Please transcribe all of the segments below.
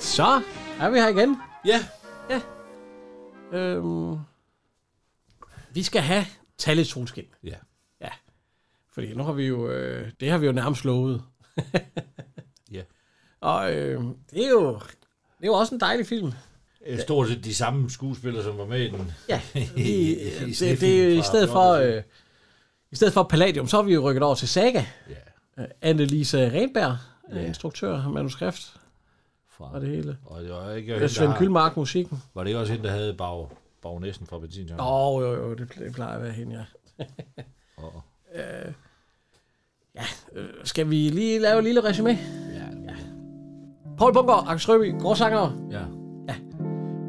Så er vi her igen. Ja, Øhm, vi skal have tallet solskin. ja. Fordi nu har vi jo, øh, det har vi jo nærmest lovet. Ja. Og øh, det, er jo, det er jo også en dejlig film. Øh, Stort set de samme skuespillere, som var med i den. Ja, I- vi, i øh, det, det er snefilm jo i fra stedet for, 14. øh, i stedet for Palladium, så har vi jo rykket over til Saga. Ja, Øh, Annelise Renberg, ja. Ja. instruktør, manuskript fra. og det hele. Og det var ikke Øh, hende, Svend der, Kylmark, musikken. Var det ikke også hende, der havde bag, bag næsten fra benzintanken? Åh, oh, jo, jo, det ple- det plejer at være hende, ja. Og- Øh, skal vi lige lave et lille resume? Ja, ja. Poul Bunker, Axel Røby, Gråsanger, Ja,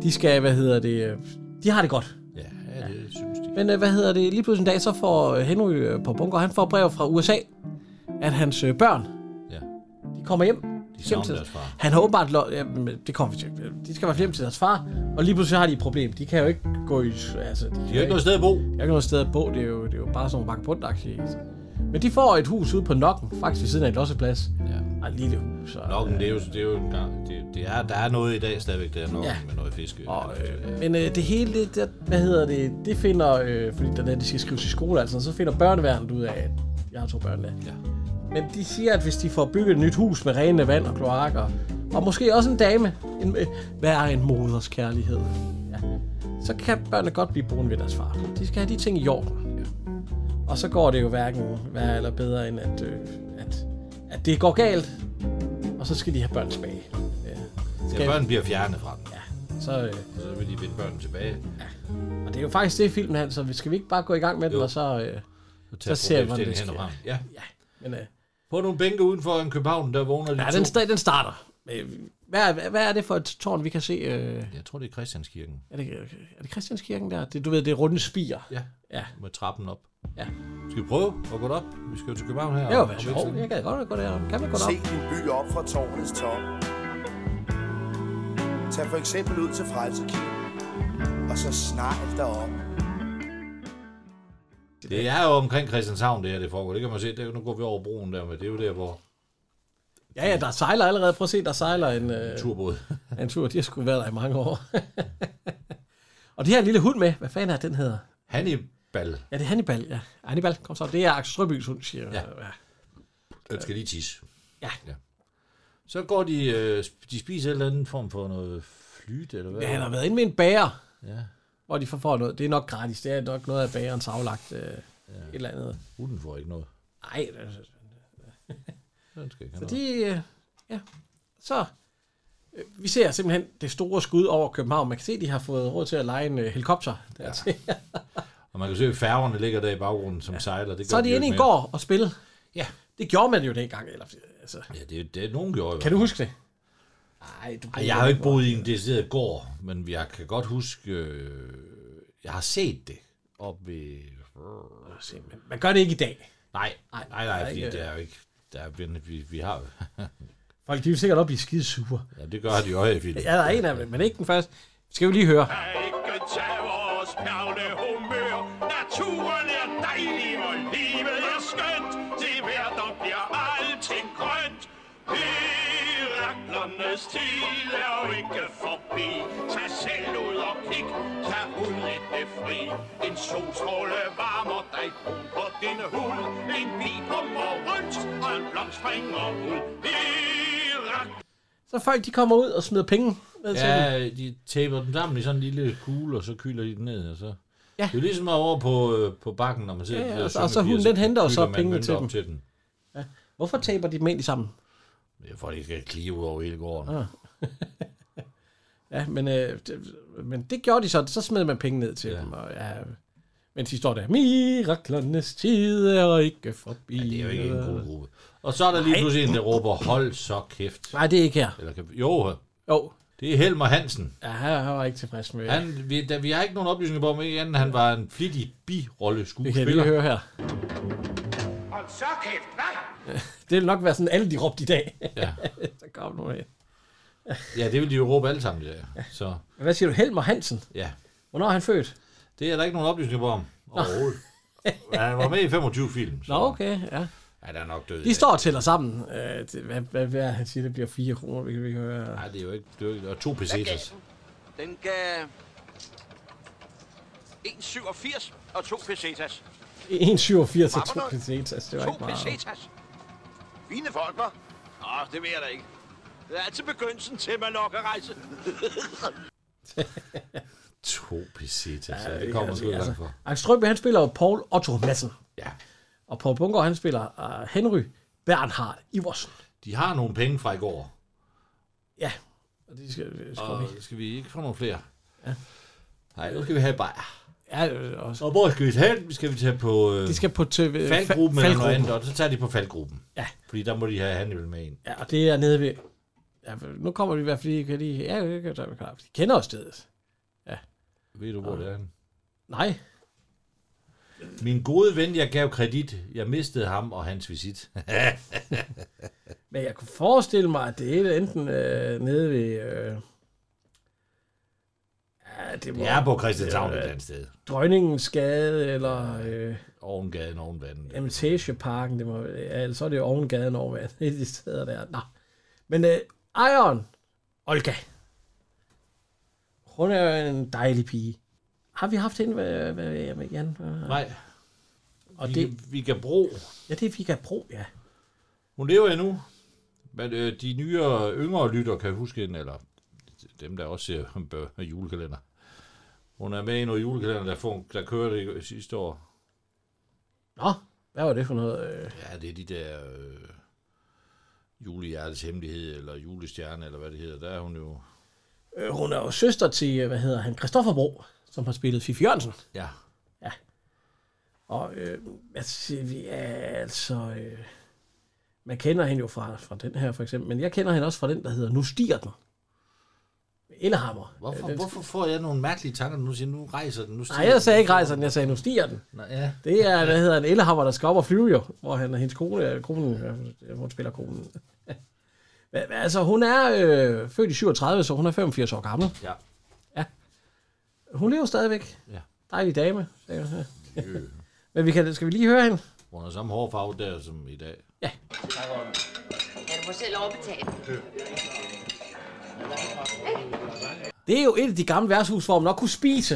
de skal, hvad hedder det, øh, de har det godt. ja, ja det synes de. Men øh, hvad hedder det, lige pludselig en dag, så får øh, Henry øh, på bunker, han får et brev fra USA, at hans øh, børn, Ja. de kommer hjem. De hjem til savner deres far. Han har åbenbart, lo- ja, men det kommer vi til. De skal i hvert fald hjem til deres far, og lige pludselig har de et problem. De kan jo ikke gå i, altså, de, De har ikke noget sted at bo. Jeg har ikke noget sted at bo, det er jo, det er jo bare sådan nogle vagabundagtige. Men de får et hus ude på Nokken, faktisk ved siden af et losseplads. Ja. Ej, lige det hus. og- Nokken, det er jo, det er jo en gang. Det, det er, der er noget i dag stadigvæk, der er nok Ja. med noget fiske. Og, øh, men øh, det hele, det, det, hvad hedder det, det finder, øh, fordi der, når de skal skrives i skole, altså, så finder børneværnet ud af, at jeg har to børn der. Ja. Men de siger, at hvis de får bygget et nyt hus med rene vand og kloakker, og måske også en dame, en, øh, hvad er en moders kærlighed? Ja. Så kan børnene godt blive boende ved deres far. De skal have de ting i orden. Og så går det jo hverken værre eller bedre, end at, øh, at, at det går galt, og så skal de have børn tilbage. Ja. ja, børn bliver fjernet fra dem. Ja, så... Øh, Og så vil de vinde børnene tilbage. Og det er jo faktisk det, filmen handler om. så skal vi ikke bare gå i gang med den, Jo. og så... Øh, Og tage Så ser man, problemstillingen det hen og sker. frem. Ja. men, øh, På nogle bænke uden for en København, der vågner de ja, to. den, sta- den starter. Øh, Hvad er, hvad er det for et tårn, vi kan se? Øh, Jeg tror, det er Christianskirken. er, det, er det Christianskirken der? Det, du ved, det er runde spiger. Ja, Ja. med trappen op. Ja. Skal vi prøve at gå op? Vi skal jo til København her. Det var om- være om sjovt. lidt. Jeg kan godt gå der. Kan man gå Se derop? din by op fra tårnets top. Tag for eksempel ud til Frelsekirken, og så snegl derop. Det er jo omkring Christianshavn, det her, det foregår. Det kan man se. Det er, jo- nu går vi over broen der, men det er jo der, hvor Ja, ja, der sejler allerede. Prøv at se, der sejler en, øh, turbåd. en tur. De har sgu været der i mange år. og de har en lille hund med. Hvad fanden er den hedder? Hannibal. Ja, det er Hannibal. Ja. Hannibal, kom så. Det er Axel Strøbys hund, siger Ja. ja. Den skal lige tisse. Ja. Så går de, øh, sp- de spiser en eller anden form for noget flyt, eller hvad? ja, han har været inde med en bager. ja. hvor de får- får noget. Det er nok gratis. Det er nok noget af bagerens aflagt øh, ja. et eller andet. Hunden får ikke noget. Ej, det er- Den skal ikke så have noget. de... Øh, ja, så... Øh, vi ser simpelthen det store skud over København. Man kan se, at de har fået råd til at lege en øh, helikopter. Ja. Og man kan se, at færgerne ligger der i baggrunden, som ja. sejler. Det Så gør er de jo inde i ikke en mere. gård og spille. Ja. Det gjorde man jo dengang. Eller, altså, Ja, det, er- det er nogen gjorde jo. kan du huske det? Nej, du Ej, jeg har jo ikke boet i en decideret gård, men jeg kan godt huske, øh, jeg har set det op ved... Altså, Men man gør det ikke i dag. Nej, nej, nej, nej fordi ikke- det er jo ikke... Der er, vi- vi, vi har jo- Folk de vil sikkert op blive skide sure. Ja, det gør de jo i filmen. Ja, der er en af dem, men ikke den første. Skal vi lige høre. kan ikke tage vores perle humør. Naturen er dejlig, og livet er skønt. Til hver der bliver alting grønt. Miraklernes tid er jo ikke forbi. Tag selv ud og kig, tag ud i det fri. En solstråle varmer dig brun på din hud. En bi kommer rundt, og en blomst springer ud. Mirakler. Så folk de kommer ud og smider penge ned til dem. Ja, de taper dem sammen i sådan en lille kugle, og så kylder de den ned, og så... Ja. Ja. Det er jo ligesom over på, øh, på bakken, når man ser... Ja, de ja, altså, der og så- og så syngepiger, hun, den henter jo så kylder man pengene mønter til op dem. til den. Hvorfor taber de dem egentlig sammen? Det er for, at de skal klige ud over hele gården. Ah. Ja. Ja, men, øh, det, men det gjorde de så. Så smed man penge ned til ja. dem. Og, ja. Mens de står der, miraklernes tid er ikke forbi. Ja, Det er jo ikke en god gruppe. Og så er der lige pludselig en, der råber, hold så kæft. Nej, det er ikke her. Eller, kan- jo, Jo, det er Helmer Hansen. ja, han han var ikke tilfreds med det. Han, vi, der, vi har ikke nogen oplysninger på, om anden han var en flittig birolle Det kan jeg lige skuespiller. høre her. Hold så kæft, hva'? Det vil nok være sådan, alle de råbte i dag. Ja. så kom nu af. ja, det vil de jo råbe alle sammen. Ja. Så Hvad siger du? Helmer Hansen? ja, Hvornår er han født? det er der ikke nogen oplysninger på om overhovedet. Men Han var med i 25 film, så Nå, okay, ja. er der nok død. i De dag. står og tæller sammen. Øh, det- hvad, hvad, hvad, han siger, det bliver 4 kroner, vi kan vi kan høre. Nej, det er jo ikke... Det er jo ikke og to pesetas. Den gav 1,87 og to pesetas. 1,87 til 2 Hvad for noget? pesetas, det var To ikke meget. pesetas? Fine folk, hva'? Åh, det vil jeg da ikke. Det er altid begyndelsen til, at man nok at rejse. To pesetas, ja, det kommer sgu ikke langt for. Ej, altså- Strømpe, han spiller jo Paul Otto Madsen. Ja. Og Paul Bunker, han spiller uh, Henry Bernhard Iversen. De har nogle penge fra i går. Ja, og de skal, skal Og vi. skal vi ikke få nogle flere? Nej, nu skal vi have bajer. Ja, øh, også. Og hvor skal vi tage den? Skal vi tage på øh, De skal på TV. faldgruppen eller noget Faldgruppen. andet? Og så tager de på faldgruppen. Ja. Fordi der må de have Hannibal med en. Ja, og det er nede ved... Ja, nu kommer vi i hvert fald lige... Kan de, ja, det kan- der- der- de kender os stedet. Ved du, hvor det er han? Nej. Min gode ven, jeg gav kredit. Jeg mistede ham og hans visit. Men jeg kunne forestille mig, at det er enten øh, nede ved... Øh, ja, det må Jeg er på Christianshavn et eller andet sted. Drønningens Gade, eller øh, Oven gaden, oven vandet. Emitageparken, det må, ja, eller så er det jo Ovengaden over et af de steder der. Nå. Men øh, Iron, Olga, hun er jo en dejlig pige. Har vi haft hende med, med, med Jan? Nej, Og vi, det, kan, vi kan bro. ja, det er Vika Bro, ja. Hun lever endnu. Men øh, de nyere, yngre lytter kan huske hende, eller dem, der også ser bør- julekalender. Hun er med i noget julekalender, der, får, der kørte i- sidste år. Nå, hvad var det for noget? øh? Ja, det er de der øh, julehjertets hemmelighed, eller julestjerne, eller hvad det hedder. Der er hun jo... Øh, hun er jo søster til, øh, hvad hedder han, Christoffer Bro, som har spillet Fifi Jørgensen. Ja, Og øh, altså, vi er altså... Øh, man kender hende jo fra, fra den her, for eksempel. Men jeg kender hende også fra den, der hedder Nu stiger den. Ellehammer. Hvorfor, Øh, den- hvorfor får jeg nogle mærkelige tanker, når du siger, nu rejser den? Nu Nej, jeg sagde ikke rejser den, jeg sagde, nu stiger den. Nå, ja. Det er, hvad hedder en ellehammer, der skal op og flyve jo, hvor han og hendes kone, øh, konen, øh, hun spiller konen. Men, men altså, hun er øh, født i 37, så hun er 85 år gammel. ja. Hun lever stadigvæk. Ja. Dejlig dame. sagde jeg. Men vi kan, skal vi lige høre hende? Hun har samme hårfarve der som i dag. Ja, du må selv overbetale. Det er jo et af de gamle værtshus, hvor man nok kunne spise.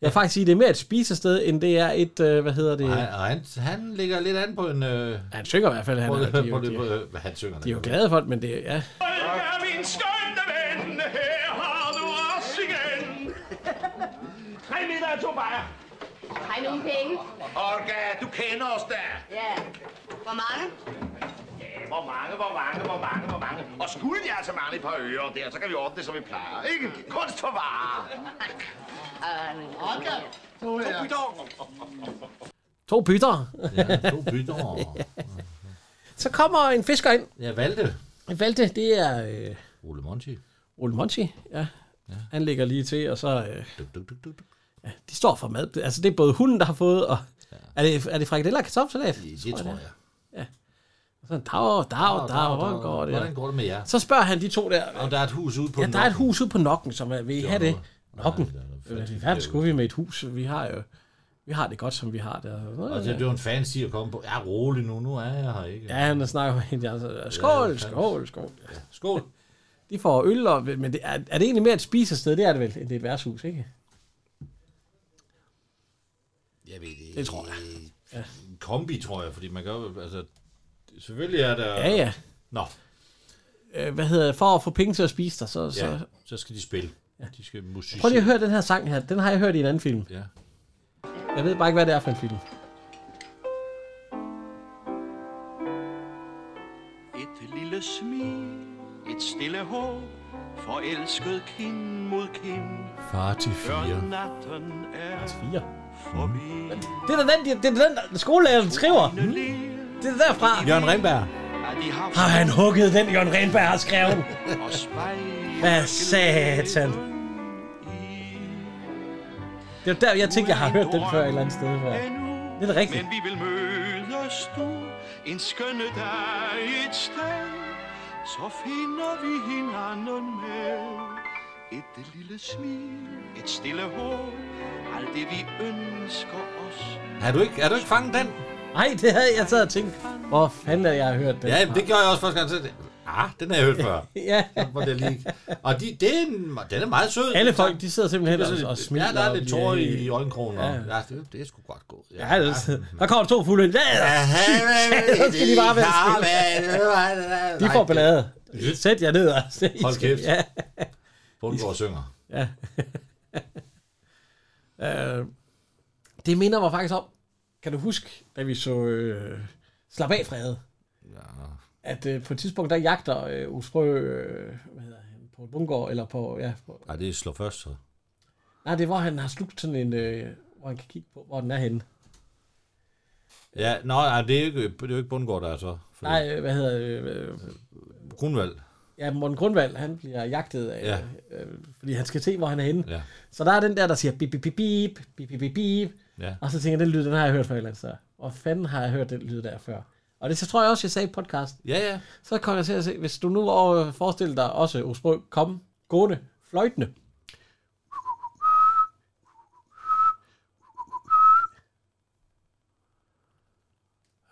Jeg vil faktisk sige, det er mere et spisested, end det er et, øh, hvad hedder det? Og han, og han, han ligger lidt an på en... Øh, Han synger i hvert fald, han på, er, de, det, er jo- på, det, de, på, er- øh, hvad han synger. de er jo glade for det, men det er, ja. Olga, min skønne ven, her har du os igen. Tre liter af to bajer. Har I nogen penge? Olga, du kender os da. Ja. Hvor mange? Hvor mange, hvor mange, hvor mange, hvor mange. Og skulle jeg altså mangle et par ører der, så kan vi ordne det, som vi plejer. Ikke kunst for varer. Øh, Okay. To bytter. Ja, to bytter. Så kommer en fisker ind. Jeg valgte Valte, det er øh, Ole Monti. Ole Monti. Ja. ja. Han ligger lige til, og så... Øh, Duk, duk, duk, duk, duk. de står for mad. Altså, det er både hunden, der har fået, og... Ja. Er det, er det frikadeller og kartoffelsalat? Det, det tror jeg. Sådan, dag, dag, Dag, dag, dag. hvordan går det? Hvordan går det med jer? Så spørger han de to der, Og der er et hus ude på Ja, den der er et anden. hus ude på Nokken, som er, vil I have det? Nokken? det er noget Øh, fattigt Hvad skulle vi med et hus? Vi har jo vi har det godt, som vi har det. Og det, det var en fancy at komme på. Ja, rolig nu. Nu er jeg her ikke. Ja, han snakker med hende. Altså, skål, skål, skål. Skål. De får øl, og, men det, er, er det egentlig mere et spisested? Det er det vel, end det er et værtshus, ikke? Jeg ved det. Det tror jeg. En kombi, tror jeg, fordi man gør... Altså, selvfølgelig er der... Ja, ja. Nå, Øh, Hvad hedder det? For at få penge til at spise dig, så... så. ja, så skal de spille. De skal musicere. Prøv lige at høre den her sang her. Den har jeg hørt i en anden film. Ja. Jeg ved bare ikke, hvad det er for en film. Et lille smil, et stille håb, forelsket kind mod kind. Far til Før natten er Fire. forbi. Det er da den, de- det er da den skolelæreren skriver. Det er derfra. Jørgen Remberg. At de har Har han hugget den, Jørgen Renberg har skrevet? og spejl. Hvad satan? Det er der, jeg tænkte, jeg har hørt den før et eller andet sted. Før. Det er da rigtigt. Men vi vil mødes du en skønne dag et sted, så finder vi hinanden med. Et lille smil, et stille håb, alt det vi ønsker os. Er du ikke, er du ikke fanget den? Nej, det havde jeg taget og tænkt. Hvor fanden er det, jeg har hørt den? Ja, det gjorde jeg også første gang. Så det- Ah, den har jeg hørt før. ja. Hvor det lige. Og de, det er en, den er meget sød. Alle folk, de sidder simpelthen Det er og, sådan og lidt- smiler. Ja, der er lidt og de- tårer i øjenkrogen. Ja. Ja. ja, det, det er sgu godt gået. Ja, det er, der kommer to fulde. Ja, Så skal de bare være stille. stille. De får ballade. Sæt jer ned og se. I Hold skal- kæft. Ja. Bundgaard synger. Øh, det minder mig faktisk om, kan du huske, da vi så øh, Slap af, Frede? Ja. at øh, på et tidspunkt, der jagter øh, Osprø, øh, hvad hedder han, på Bungård, eller på, ja, på, Ej, det er slå først, så. nej, det er, hvor han har slugt sådan en, øh, hvor han kan kigge på, hvor den er henne. Ja, nå, nej, det er jo ikke, det er jo ikke Bundgaard, der er så. For Nej, øh, hvad hedder øh, øh, Grunvald. ja, Morten Grundvald, han bliver jagtet af, Ja. øh, fordi han skal se, hvor han er henne. Ja. Så der er den der, der siger bip, bip, bip, bip, bip, bip, bip, bip. Ja. Og så tænker jeg, den lyd, den har jeg hørt før et eller andet sted. Hvor fanden har jeg hørt den lyd der før? Og det så tror jeg også, jeg sagde i podcasten. Ja, ja. Så kommer jeg til at se, hvis du nu over- øh, forestiller dig også Osbrø komme gående, fløjtende.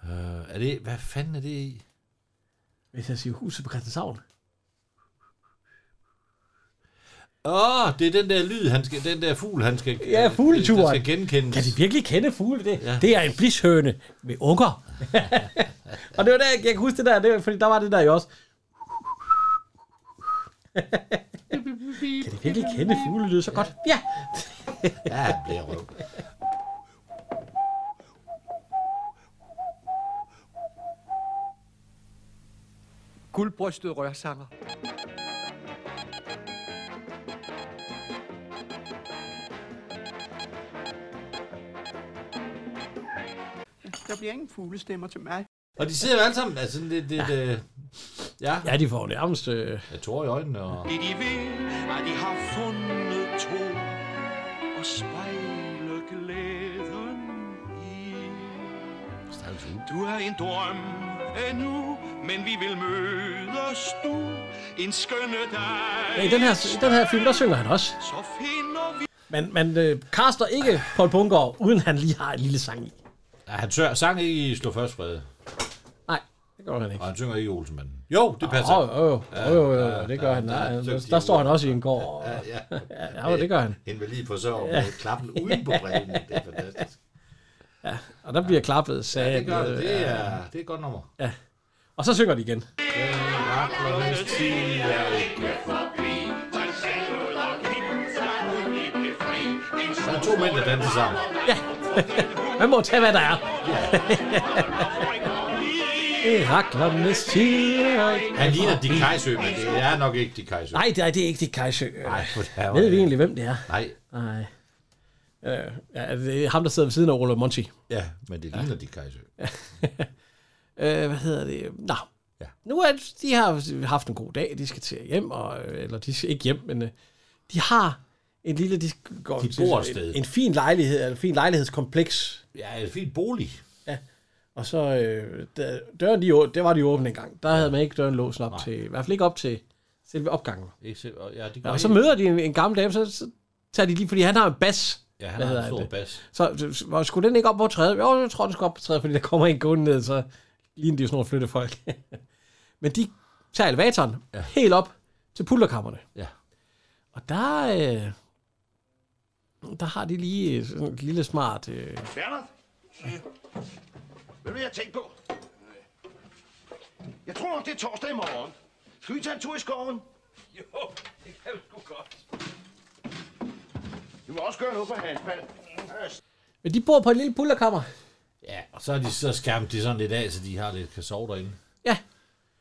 Øh, er det, hvad fanden er det i? Hvis jeg siger huset på Christianshavn. Åh, det er den der lyd, han skal, den der fugl, han skal, øh, Ja, fugleturen. der skal genkendes. Kan de virkelig kende fugle det? Ja. Ja. Det er en blishøne med unger. og det var der, jeg kan huske det der, det var, fordi der var det der jo også. kan de virkelig kende fugle så godt? Ja. Ja, han bliver røv. guldbrystet rørsanger. Der bliver ingen fuglestemmer til mig. Og de sidder jo alle sammen, altså sådan lidt, lidt øh, ja, Ja, de får nærmest... Øh, jeg tror i øjnene, og Det de ved, at de har fundet to og spejle glæden i. Du er en drøm endnu, men vi vil mødes du en skønne dag. ja, I den her, i den her film, der synger han også. Så finder vi Men man øh, kaster ikke Paul Bungård, uden han lige har en lille sang i. ja, han tør, sang ikke i Slå Først Frede, Nej, det gør han ikke. og han synger ikke i Olsenmanden. Jo, det passer. Åh, oh, oh, oh, oh, oh, det gør han. der er Der, der, dygtige der står han unger. også i en gård. Og, Ja, ja, det gør han. invalid på så med klappen uden på brillen. Det er fantastisk. Og der bliver klappet. Sat, Det gør det. Det er, det er et godt nummer. Og så synger de igen. Der er to mænd, der danser sammen. Man må tage, hvad der er. Heraklernes tiger. Han ligner Dick Kajsø, men det er nok ikke Dick Kajsø. Nej, det er, det er ikke det, Kajsø. Nej, for det er Ved vi egentlig, hvem det er? Nej, Nej. Øh, ja, det er ham, der sidder ved siden af Ole Monti. ja, men det ligner Dick Kajsø. Øh, hvad hedder det? Nå. Ja. Nu er det- de har haft en god dag, de skal til hjem, og, øh, eller de skal ikke hjem, men øh, de har en lille, de, går, De bor et sted. en, en fin lejlighed, eller en fin lejlighedskompleks, Ja, en fin bolig. Og så øh, da- døren, de, å- det var de åbne engang. Der havde man ikke døren låst op Nej. til, i hvert fald ikke op til selve opgangen. Ikke se- og- Ja, de Ja, og så møder de en, en gammel dame, så, så tager de lige, fordi han har en bas. Ja, han Hvad har hedder en stor det? bas. Så, så- så var- skulle den ikke op på træet? Jo, jeg tror, den skulle op på træet, fordi der kommer en gående ned, så ligner de jo sådan nogle flyttefolk. Men de tager elevatoren ja. helt op til pulterkammerne. Ja. Og der, øh, der har de lige øh, sådan et lille smart... Øh, Bernhard? Ved du, hvad jeg tænkte på? Jeg tror, det er torsdag i morgen. Skal vi tage en tur i skoven? Jo, det kan vi sgu godt. Vi må også gøre noget på handspand. men de bor på et lille pulterkammer. Ja, og så er de så skærmt de sådan lidt af, så de har lidt kan sove derinde. Ja,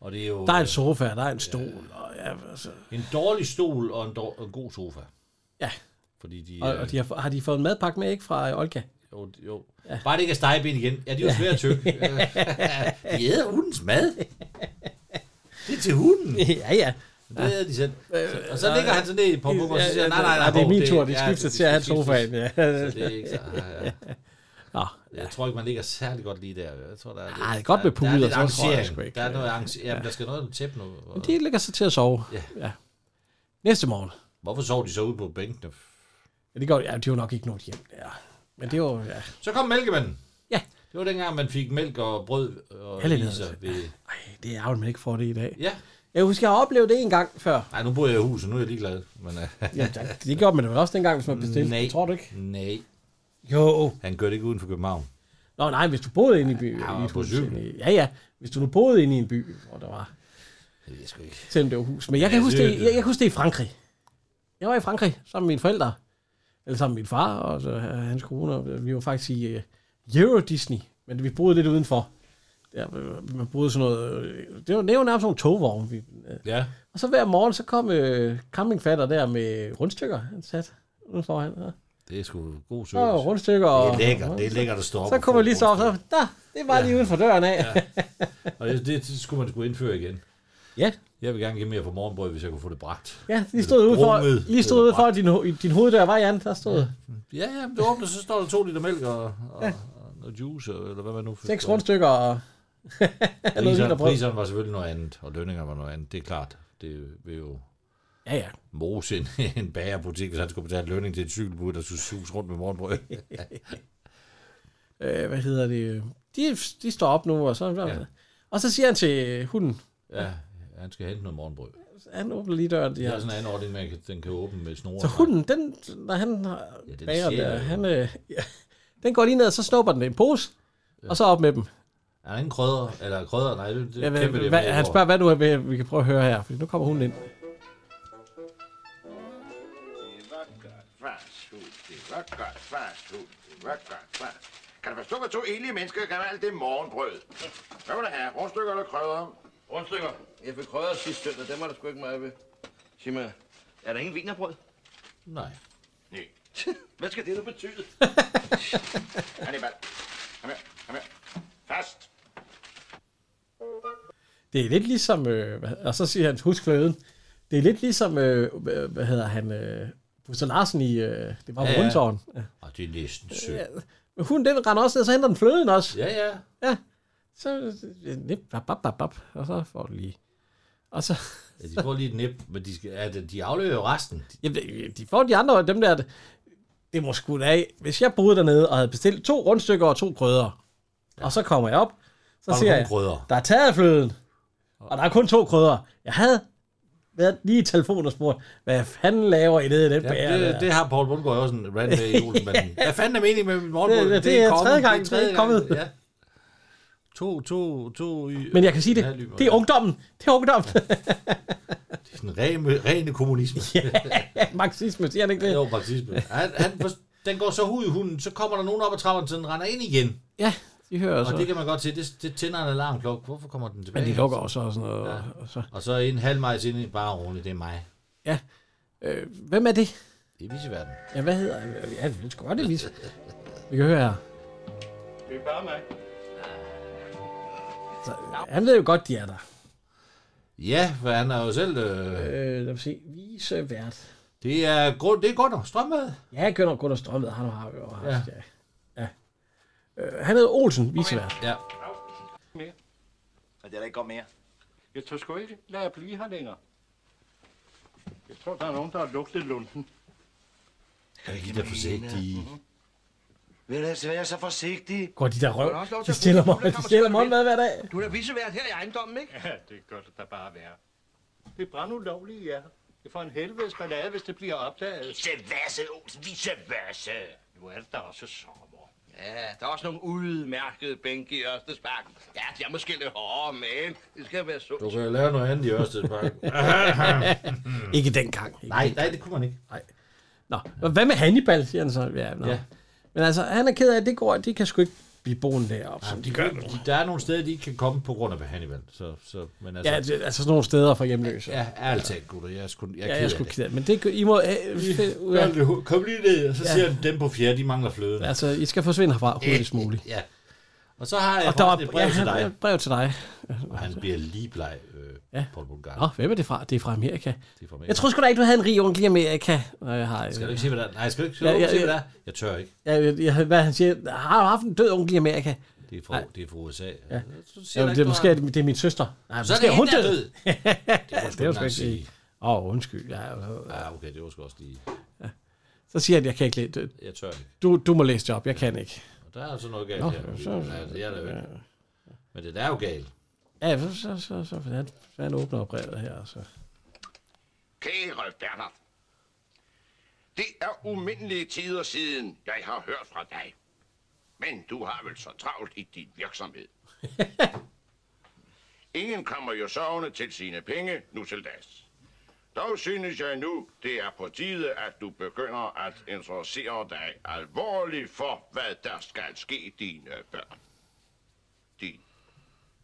Og det er jo der er en sofa, der er en stol. Og, ja, altså, en dårlig stol og en, dår, og en god sofa. Ja, Fordi de, og, og de har, har de fået en madpakke med, ikke, fra øh, Olga? Jo, jo. Ja. Bare det ikke er stegeben igen. Ja, de er jo svært tyk. de æder hundens mad. Det er til hunden. ja, Øh, ja. Det æder de selv. Så, og så ligger han sådan ned på bukken, og så siger han, nej, nej, nej. øh, det er Bo, min tur, de ja, skifter det- til at de have skiftes. sofaen. Ja. Så det er ikke så... ja, ja. Nå, Jeg tror ikke, man ligger særlig godt lige der. Jeg tror, der er lidt, Ah, det er godt med der, der er puder, lidt så tror jeg arrangering. sgu ikke. Der er noget arrangering. Jamen, der skal noget tæppe nu. Og, de lægger sig til at sove. Ja. ja. Næste morgen. Hvorfor sov de så ude på bænkene? Ja, det går, ja, det var nok ikke noget hjem. Ja. Men det var, ja. Så kom mælkemanden. Ja. Det var dengang, man fik mælk og brød og Alle ledere. iser. Ved... Ej, det er ærgerligt, man ikke får det i dag. Ja. Jeg husker, jeg har oplevet det en gang før. Nej, nu bor jeg i huset, nu er jeg ligeglad. Men, uh, Ja, der- det gjorde man det vel også dengang, hvis man bestilte. Nej. Tror du ikke? nej, Jo. han gør det ikke uden for København. Nå nej, hvis du boede inde i byen. Ja, i et på hus, cykel. inde i- Ja, ja. Hvis du nu boede inde i en by, hvor der var, Det ved jeg sgu ikke. selvom det var hus. Men jeg kan, Ja, huske, det- det, jeg, jeg kan huske det i Frankrig. Jeg var i Frankrig sammen med mine forældre. Eller sammen med min far og så, øh, hans kone. Og vi var faktisk i øh, Euro Disney. Men vi boede lidt udenfor. Der, øh, man boede sådan noget... øh, Det var, det var nærmest sådan en togvogn. Vi, øh, Ja, og så hver morgen, så kom øh, campingfatter der med rundstykker. Han sat. Nu står han der. det er sgu god Så var service. rundstykker og... Det er lækkert, det er lækkert at stå op Så og kunne få man lige så op, rundstykker. så, der, det var lige uden for døren af. Ja. Og det, det, det, skulle man skulle indføre igen. ja. Jeg vil gerne give mere for morgenbrød, hvis jeg kunne få det bragt. Ja, lige stod ude Brummet. for, lige stod ude for at din, ho- din hoveddør, var Jan? Der stod Ja, ja, men du åbner, så står der to liter mælk og, og, ja. og noget juice, øh, eller hvad man nu fik. seks rundstykker og... noget Priserne, wienerbrød. priserne var selvfølgelig noget andet, og lønningerne var noget andet, det er klart. Det vil jo Ja, ja. mose en, en bagerbutik, hvis han skulle betale lønning til et cykelbud, der skulle suges rundt med morgenbrød. Øh, hvad hedder det? De, de står op nu, og så... Ja. Ja. Og så siger han til hunden, Ja, han skal hente noget morgenbrød. han åbner lige døren. De Det her. er sådan en anden ordning, man kan, den kan åbne med snore. Så hunden, den, når han har Ja, den bager ser der, jo. han, øh, ja, den går lige ned, og så snupper den i en pose, og så op med dem. Er der ingen krødder? Eller krødder? Nej, det, det Ja, ja, hvad, kæmpe det. hvad, med han hvor- spørger, hvad du er vi kan prøve at høre her, for nu kommer hunden ind. Det var godt fast hund. Det var godt fast hund. Det var godt fast. Kan du forstå, hvad to enlige mennesker kan alt det morgenbrød? Hvad vil du have? Rundstykker eller krydder? Rundstykker. Jeg fik krødder sidste søndag, dem var der sgu ikke meget ved. Sig mig, er der ingen vinerbrød? Nej. Nej. Hvad skal det nu betyde? Hannibal. Kom her. Kom her. Fast. Det er lidt ligesom, øh, hvad- og så siger han, husk fløden. Det er lidt ligesom, øh, hvad- hvad hedder han, øh, Buster Larsen i, øh, det var Ja, ja, ja. Rundtårn. Ja. Og det er næsten sødt. Men hun, den render også ned, så henter den fløden også. Ja. Ja, ja. Så, øh, nip, bap, bap, bap, bap, og så får du lige. Og så, ja. De får lige et nip, men de, skal, ja, de- de afleverer jo resten. jamen, de- de får de andre, dem der, det må sgu da af. Hvis jeg boede dernede og havde bestilt to rundstykker og to krydder, ja. og så kommer jeg op, så Og siger nogle jeg, krødder. Der er taget af fløden, og der er kun to krydder. Jeg havde været lige i telefonen og spurgt, hvad fanden laver I nede i den Ja, ja, bære? det, det, har Paul Bundgaard også en rant med i julen, men hvad fanden er meningen med mit morgenbrød? Det- det- det er tredje gang, det er ikke kommet. Ja. To, to, to... i- Men jeg kan sige en halv det, lime. det er ungdommen. Det er ungdommen. Den rene, rene kommunisme. Marxisme, siger han ikke Det er det? jo marxisme. Han, han, for- den går så ud i hunden, så kommer der nogen op ad trappen, så den render ind igen. Ja, de hører Og det så. kan man godt se, det, det tænder en alarmklokke. Hvorfor kommer den tilbage? Men de lukker også og sådan noget. Og så. Og så er en halv majs inde i bare roligt, det er mig. Ja. Øh, hvem er det? Det er viseverden. Ja, hvad hedder han? Ja, det skal godt det vise. Vi kan høre her. Det er bare mig. Så, han ved jo godt, de er der. Ja, for han er jo selv... Øh, Øh, lad os se. Vise vært. det, er, grund, det er Gunnar Strømvad. Ja, Gunnar Gunnar Strømmed, han har jo haft, Ja. ja. ja. Øh, han hedder Olsen, visevært. Ja. Men det er da ikke godt mere. Jeg tør sgu ikke lade jeg blive her længere. Jeg tror, der er nogen, der har lugtet lunden. Er de der forsigtige? Vil du altså være så forsigtig? Går de der røv? også lov til De at stiller få- mig, Nu der de kommer stiller sgu da mig med hver dag. Du er da visevært her i ejendommen, ikke? Ja, det gør det da bare være. Det er brandulovligt, ja. Det får en helvedes ballade, hvis det bliver opdaget. Visevasse, Olsen, visevasse. Nu er det da også sommer. Ja, der er også nogle udmærkede bænke i Ørstedsparken. Ja, de er måske lidt hårdere, men det skal være sundt. Du kan jo lave noget andet i Ørstedspark. Ikke dengang. Ikke. nej, nej, det kunne man ikke. Nå, og hvad med Hannibal, siger han så. Ja, nå. Ja. ja. Men altså, han er ked af, at det går, det kan sgu ikke blive boende deroppe, som de gør nu. Der er nogle steder, de ikke kan komme på grund af Hannibal. Så, så, men altså, Ja, det, altså sådan nogle steder for hjemløse. ja ærligt talt, gutter. Jeg er sgu, jeg Ja, er ked jeg af skulle det. kede Men det, I må... Øh, fe- Gør ja. det. Kom lige ned, og så siger han, dem på fjerde, de mangler fløde. Altså, I skal forsvinde herfra hurtigst muligt. Ja. Og så har jeg Og der var et brev ja, til dig, han- brev til dig. og han bliver lige bleg, øh, Paul Bulgar. Nå, hvem er det fra? Det er fra Amerika. Det er fra Jeg tror sgu da ikke, du havde en rig onkel i Amerika. Og jeg har, Skal du ikke se, hvad der er? Nej, skal du ikke, skal Ja, du ikke ja, se, hvad ja. der er? Jeg tør ikke. jeg, jeg, jeg, hvad han siger, har du haft en død onkel i Amerika? Det er fra, det er fra USA. Ja. Så siger Jamen, du det, er ikke, måske du er det, det er min søster. Nej, har- Så er det hende, der er død. Det er jo sgu engang ikke sige. Åh, oh, undskyld. Ja, øh. Ja, Ah, okay, det var sgu også lige... så siger jeg, at jeg kan ikke læse. Jeg tør ikke. Du, du må læse det op, jeg kan ikke. Og der er så noget galt her. Ja, jeg er da vel. Men det der er jo galt. Ja, så, så, så, så han, han åbner brevet her. Så. Kære Bernhard, det er umindelige tider siden, jeg har hørt fra dig. Men du har vel så travlt i din virksomhed. Ingen kommer jo sovende til sine penge nu til dags. Dog synes jeg nu, det er på tide, at du begynder at interessere dig alvorligt for, hvad der skal ske dine børn. Din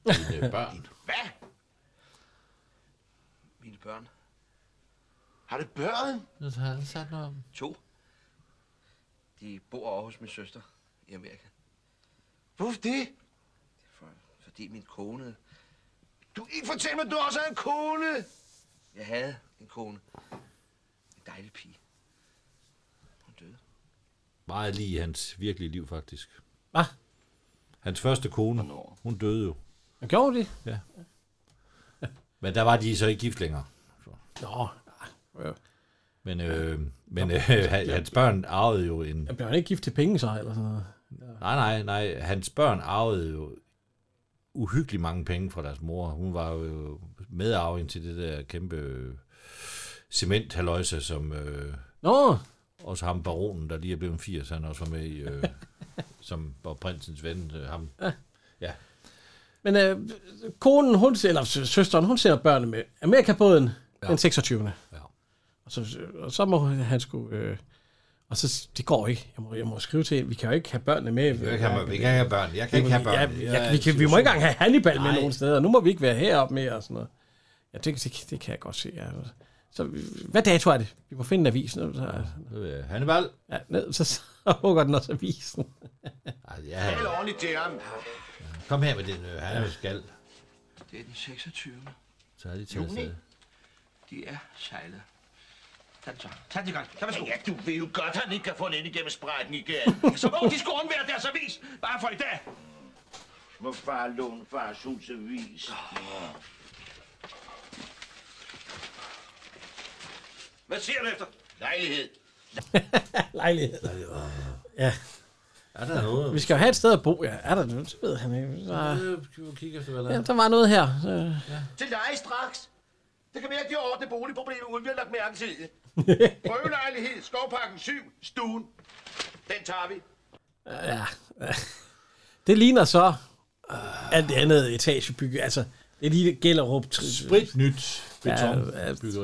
Dine børn. hvad? Mine børn. Har du børn? Så har han sagt noget om. To. De bor over hos min søster i Amerika. Hvorfor det? For, fordi min kone... Du ikke fortæl mig, at du også er en kone. Jeg havde en kone. En dejlig pige. Hun døde. Meget lige hans virkelige liv, faktisk. Hvad? Hans første kone, hun døde jo. Han gjorde det? Men der var de så ikke gift længere. Nå, Men, øh, men øh, hans børn arvede jo en... jeg bliver han ikke gift til penge så, eller sådan noget? Nej, nej, nej. Hans børn arvede jo uhyggeligt mange penge fra deres mor. Hun var jo medarving til det der kæmpe øh, cementhaløjse, som øh, Nå, også ham baronen, der lige er blevet 80, han også var med i, øh, som var prinsens ven, øh, ham. men øh, konen, hun, eller sø- søsteren, hun sender børnene med Amerikabåden ja. den 26. Ja. Og så, og så må hun- han skulle... Øh, og så, det går ikke. Jeg må, jeg må skrive til hende, vi kan jo ikke have børnene med. Vi kan ikke have, vi kan ikke have børn. Jeg kan ikke have børn. Ja, Jeg ja, er vi, kan, vi må ikke engang have Hannibal med Nej. nogen steder. Nu må vi ikke være heroppe mere og sådan noget. Ja, det, det, det kan jeg godt se. Ja. Så, vi- hvad dato er det? Vi må finde en avis. Nu, så, Øh, Hannibal? ja, ned, så, så hugger den også avisen. Ej, ja, Tal ordentligt til ham. kom her med din øh, han skal. Det er den 26. Så er de til afsted. De er sejlet. Tag det så. Tag det godt. Tag det så. Ja, du ved jo godt, han ikke kan få den ind igennem sprækken igen. Så må de skulle undvære deres avis, bare for i dag. Må far låne fars hus avis. Hvad siger du efter? Lejlighed. Lejlighed. Er der noget? Vi skal jo have et sted at bo. Ja, er der noget? Så ved han ikke. Så, Øh, Skal vi kigge efter, hvad der ja, er? der var noget her. Så, Til dig straks. Det kan være, at de har ordnet boligproblemet, uden vi har lagt mærke til det. Prøvelejlighed, skovparken 7, stuen. Den tager vi. ja. Det ligner så øh, alt det andet etagebygge. Altså, det lige Gellerup. Sprit øh, nyt beton.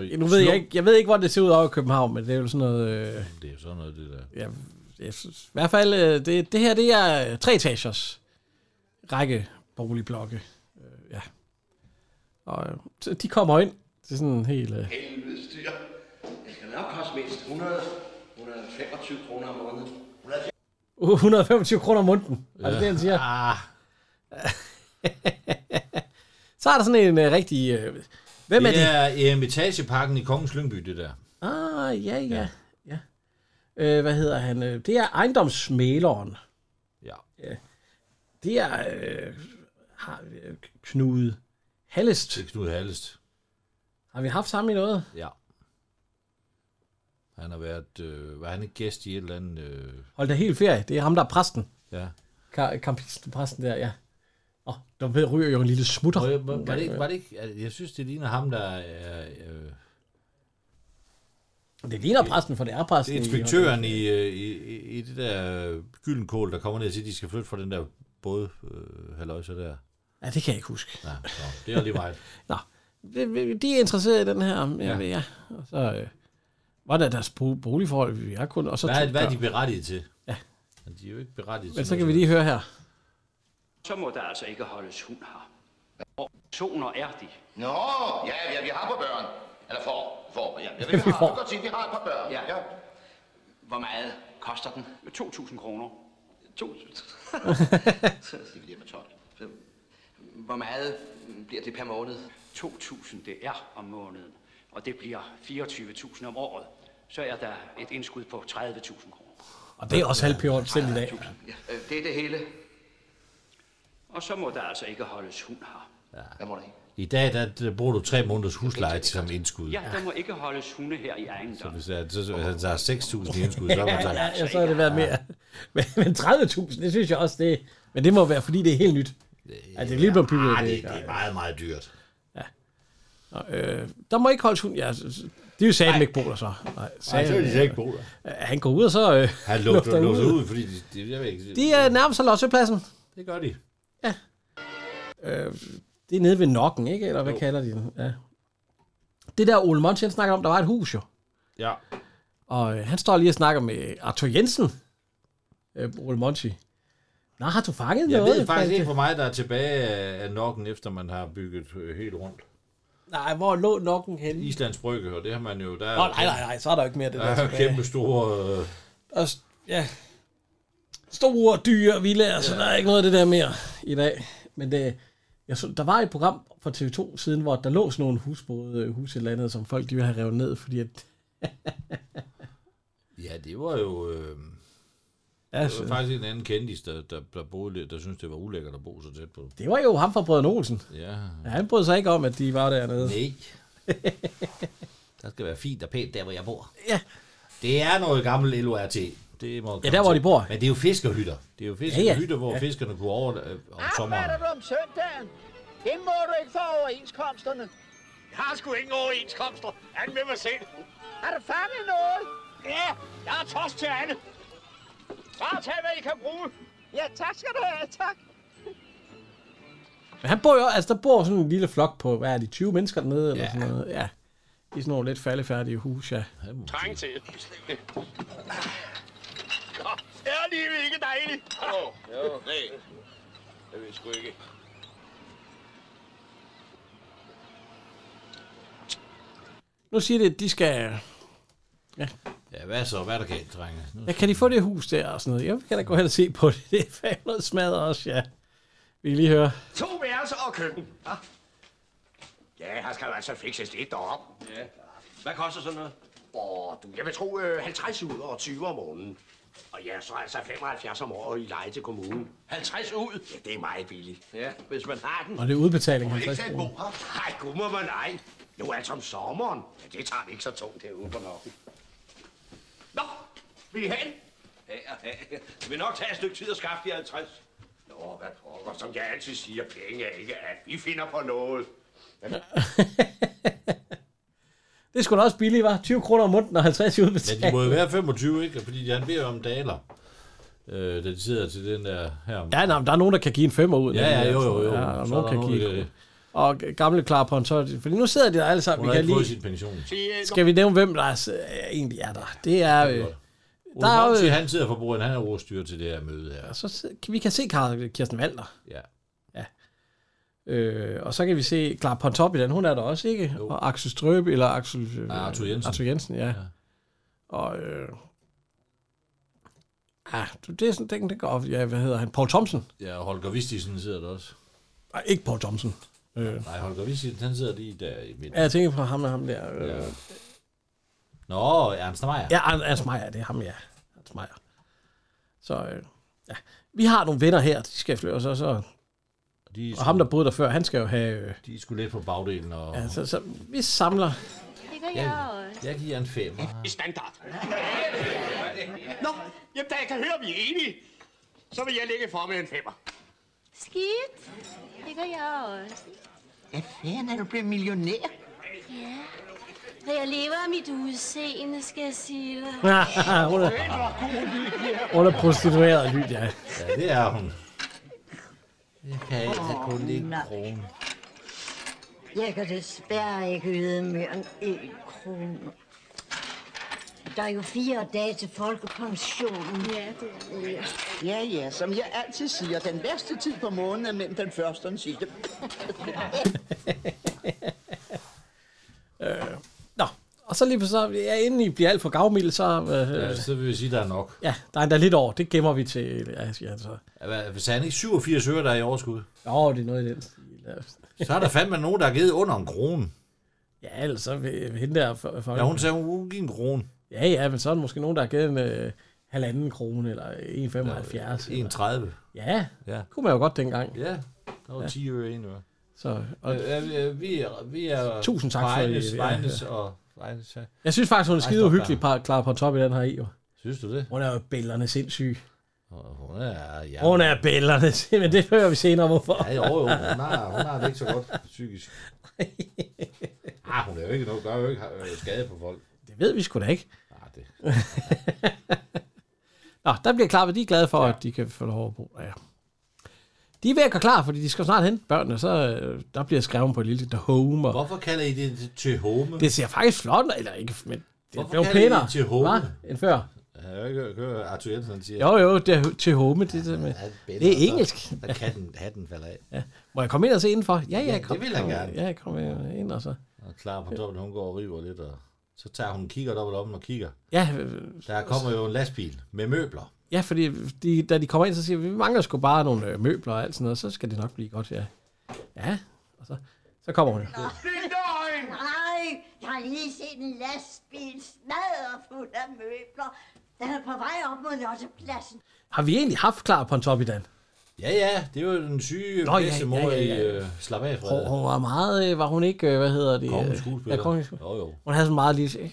Ja, nu ved jeg, ikke, jeg ved ikke, hvordan det ser ud over i København, men det er jo sådan noget... Øh, Det er sådan noget, det der. ja, jeg synes, I hvert fald, øh, det, det her det er øh, tre etagers række boligblokke. Øh, ja. Og øh, så de kommer ind til sådan en helt... Øh, Det skal nok koste mindst 100, 125 kroner om måneden. 125 kroner om munden. Er det det, han siger? Ah, Så er der sådan en øh, rigtig... Øh, hvem er det det? er i Emitageparken i Kongens Lyngby, det der. Ah, ja, ja. ja. Øh, hvad hedder han? Øh, Det er ejendomsmæleren. Ja. Det er øh, har, øh, Knud Hallest. Det er Knud Hallest. Har vi haft sammen i noget? Ja. Han har været, øh, var han en gæst i et eller andet, øh, Hold da helt ferie. Det er ham, der er præsten. ja. Ka- Kampisten, præsten der, ja. Åh, oh, der ved- ryger jo en lille smutter. Var, var, var, det ikke, var det ikke, altså, jeg synes, det ligner ham, der er, øh, Det ligner præsten, for det er præsten. det er inspektøren i, øh, i, i- i det der øh, gyldenkål, der kommer ned og siger, at de skal flytte fra den der både øh, halløjse der. Ja, det kan jeg ikke huske. Ja, nå, det er lige meget. Nå, det- det- de er interesseret i den her. Ja, ja. Ja. ja. Og så øh, var der deres bo- boligforhold, vi er kun... Og så Hvad, to er- hvad er børn. de berettiget til? Ja. De er jo ikke berettiget Men til så kan vi noget. lige høre her. så må der altså ikke holdes hund her. Og personer er de. Nå, ja, ja, vi har på børn. Eller for, for, ja. Jeg ved, Vi vi har, får. du kan godt sige, vi har et par børn. Ja. ja. Hvor meget koster den? 2.000 kroner. To. Divideret med 12. Hvor meget bliver det per måned? 2.000 det er om måneden, og det bliver 24.000 om året. Så er der et indskud på 30.000 kroner. Og det er også halvpjort selv i dag. Øh, Det er det hele. Og så må der altså ikke holdes hund her. Hvad må der ikke? I dag der, der bruger du tre måneders husleje til som indskud. Ja, der må ikke holdes hunde her i ejendommen. Hvis, der, så, hvis han tager 6.000 i indskud, så er man Ja, sagt, ja, så har det været mere. Men, men 30.000, det synes jeg også, det Men det må være, fordi det er helt nyt. Altså, det er lige blevet bygget. ah, det er det, ikke- det er meget, meget dyrt. Øh, der må ikke holdes hund. Ja, s- s- det er jo Sam ikke boler så. Nej, Sam, slet ikke bo der. øh, han går ud, og så øh, Han lugter, lugter ud, fordi de, de, jeg ved ikke, De er nærmest af lossepladsen. det gør de. Det er nede ved Nokken, ikke? Eller hvad kalder de den? Ja. Det der Ole Monsen snakker om, der var et hus jo. Ja. Og øh, han står lige og snakker med Arthur Jensen. Øh, Ole Monchi. Nå, har du fanget Jeg noget? ved faktisk ikke, hvor meget der er tilbage af- af nokken, efter man har bygget øh, helt rundt. Nej, hvor lå Nokken henne? Islands Brygge, og det har man jo, der Nå, nej, nej, nej, så er der jo ikke mere af det der. Der er tilbage. kæmpe store... Øh, Og, s- ja, store dyre villager, så der er ikke noget af det der mere i dag. Men det, jeg så, der var et program på TV2 siden, hvor der lå sådan nogle husbåde, øh, hus i landet, som folk de ville have revet ned, fordi at, ja, det var jo... Øh, ja, det så- var faktisk en anden kendis, der, der, der, boede, lidt- der synes det var ulækkert at bo så tæt på. det var jo ham fra Brødrene Olsen. Ja. Ja, han brød sig ikke om, at de var dernede. Nej. der skal være fint og pænt der, hvor jeg bor. Ja. Det er noget gammelt LORT. Det må Ja, der hvor de bor. Men det er jo fiskerhytter. Det er jo fiskerhytter, ja, ja. hvor ja. fiskerne kunne over øh, om sommeren. Arbejder du om søndagen? Det må du ikke for overenskomsterne. Jeg har sgu ingen overenskomster. Anden med mig selv. Har du fanget noget? Ja, jeg har tost til Anne. Bare tag, hvad I kan bruge. Ja, tak skal du have, tak. Men han bor jo, altså der bor sådan en lille flok på, hvad er de, 20 mennesker dernede, eller Ja. sådan noget. Ja. I sådan nogle lidt faldefærdige hus, ja. Trænge til. Nå, er livet ikke dejligt? Nej, det ved jeg sgu ikke. Nu siger det, at de skal... Ja, hvad så? Hvad er der galt, drenge? Nu, Ja, kan de få det hus der og sådan noget? Jeg kan da gå hen og se på det. Det er fandme noget smadret også, ja. Vi kan lige høre. To værelser og køkken. Hva? Ja, her skal jo altså fikses lidt derop. Hvad koster sådan noget? Åh, du, jeg vil tro øh, 50 ud og 20 om måneden. Og ja, så altså 75 om året i leje til kommunen. 50 ud? Ja, det er meget billigt. Ja, hvis man har den. Og det er udbetaling. Ikke 50 selv kroner. bo her? Nej, gud må man ej. Jo, altså om sommeren. Ja, det tager vi ikke så tungt herude på nokken. Nå, vi er hen. Ja, ja. Det vil nok tage et stykke tid at skaffe de 50. Nå, hvad pokker, som jeg altid siger, penge er ikke alt. Vi finder på noget. Det er sgu da også billigt, var 20 kroner om måneden og 50 i ja, de udbetaling. må jo være 25, ikke? Fordi han beder om daler, øh, da de sidder til den der her. Ja, nej, men der er nogen, der kan give en femmer ud. Ja, ja, jo, jo, jo. Ja, og Så nogen er der kan nogen, give... der kan- Og gamle klar på en tøj. Fordi nu sidder de der alle sammen. Hun Vi har kan ikke fået lige... sin pension. Skal vi nævne, hvem der er, øh, egentlig er der? Det er... Øh, der Ole er Monti, jo, han sidder for bordet, han er rostyr til det her møde her. så sid- vi kan se Kar- Kirsten Walter. Ja. Øh, og så kan vi se Clara Pontoppidan, hun er der også, ikke? Jo. Og Axel Strøbe, eller Axel... Øh, Ah, Arthur Jensen. Arthur Jensen, ja. ja. Og... Øh, ah, du, det er sådan, den, den går op. Ja, hvad hedder han? Paul Thomsen. Ja, og Holger Vistisen sidder der også. Nej, ikke Paul Thomsen. Øh. Nej, Holger Vistisen, han sidder lige der i midten. Ja, jeg tænker på ham og ham der. Øh. Ja, Ja. Nå, Ernst Meyer. ja Ar- Ernst Meyer, det er ham, ja. Ernst Meyer. Så, øh, ja. Vi har nogle venner her, de skal flyve, og så, så... De, Og ham, der boede der før, han skal jo have... Øh, de er sgu lidt på bagdelen, og ja, så, så, vi samler... Det gør jeg også. jeg giver en femmer. I standard. Nå, jamen da jeg kan høre, vi er enige, så vil jeg lægge for med en femmer. Skidt. Det gør jeg også. Hvad fanden er du blevet millionær? Når jeg lever af mit udseende, skal jeg sige dig. hun, er, hun er prostitueret og lyd, ja. Ja, det er hun. Jeg kan ikke kun lige en krone. Jeg kan desværre ikke yde mere end én krone. der er jo fire dage til folkepensionen. Ja, det er det. Ja, ja, som jeg altid siger, den værste tid på måneden er mellem den første og den sidste. Øh, nå, og så lige på så, ja, inden I bliver alt for gavmild, så... Øh, Ja, så vil vi sige, der er nok. Ja, der er endda lidt over. Det gemmer vi til... Ja, altså. Hvad- Hvis han ikke 87 øre, der er i overskud, Jo, det er noget i den stil. så er der fandme nogen, der har givet under en krone. Ja, ellers så vil vil hende der... For, for, Ja, hun sagde, hun giver en krone. Ja, ja, men så er der måske nogen, der har givet en øh, halvanden krone, eller 1,75. 1,30. Ja, Ja. kunne man jo godt dengang. Ja, der var 10 øre en øre. Så, og, Og, vi, er, vi er... Tusind tak for Vejnes, det, ja. Vejnes og... Vejnes, ja. jeg synes faktisk, hun er Ej, skide stop uhyggelig, par, klar på top i den her i. jo. Synes du det? Hun er jo bælgerne sindssyg. Hun er... Ja, Hun er bælgerne sindssyg, men det hører vi senere, hvorfor. Ja, jo, jo. Hun har, hun har det ikke så godt psykisk. Ah, hun er jo ikke noget, gør jo ikke øh, skade på folk. Det ved vi sgu da ikke. Nej, det... Nå, der bliver klar, hvad de er glade for, ja. at de kan få lov at bo. Ja. De er ved at gøre klar, fordi de skal snart hente børnene, så øh, der bliver skrevet på et lille home. og- Hvorfor kalder I det til home? Det ser faktisk flot ud, eller ikke, men det Hvorfor blev kalder I pænere. det til home? hva', End før. Jeg har ikke hørt Arthur Jensen han siger. Jo, jo, det er til home, det, der med. bedre, det er så- engelsk. Der kan den, hatten falder af. Ja. Må jeg komme ind og se indenfor? Ja, Ja, ja, det kom. vil jeg kom, gerne. Ja, kom ind og så. Og klar på dobbelt, hun går og river lidt, og så tager hun kigger dobbelt om og kigger. Ja, øh, Der kommer jo en lastbil med møbler. ja fordi de, da de kommer ind, så siger vi, vi mangler sgu bare nogle øh, møbler og alt sådan noget, så skal det nok blive godt, ja. Ja, og så, så kommer hun. Nej, jeg har lige set en lastbil smadret fuld af møbler. Den er på vej op mod Lottepladsen. Har vi egentlig haft klar på en top i dag? Ja, ja, det var jo den syge Nå, ja, bedstemor ja, ja, ja. i uh, Slap af, Hun, Frederik. hun var meget, øh, var hun ikke, øh, hvad hedder det? Kongens øh, skuespiller. Ja, kongens skuespiller. Jo, jo. Hun havde så meget lige... øh,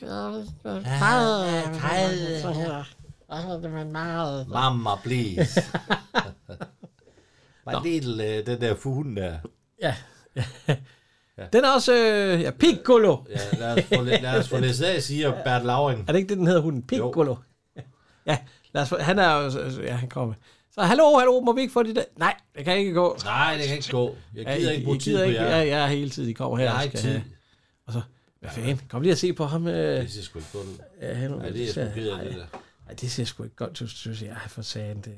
Mamma, please. Bare lidt uh, den der fugen der. Ja. Den er også, øh, ja, Piccolo. Ja, lad os få lidt, lad os få lidt af, siger Bert Lauring. Er det ikke det, den hedder hunden? Piccolo. Ja, lad os få, han er jo, ja, han kommer. Så hallo, hallo, må vi ikke få det der? Nej, det kan ikke gå. Nej, det kan ikke gå. Jeg gider I- ikke bruge I tid gider på ikke- jer. Ja, jeg er hele tiden, I kommer her. Jeg har og ikke skal tid. have- Og så, hvad fanden, kom lige og se på ham. Øh, Det ser sgu ikke godt ud. ja, han, Nej, det er sgu ked af, det der. Nej, det ser sgu ikke godt ud, synes jeg. Ej, For sagen det.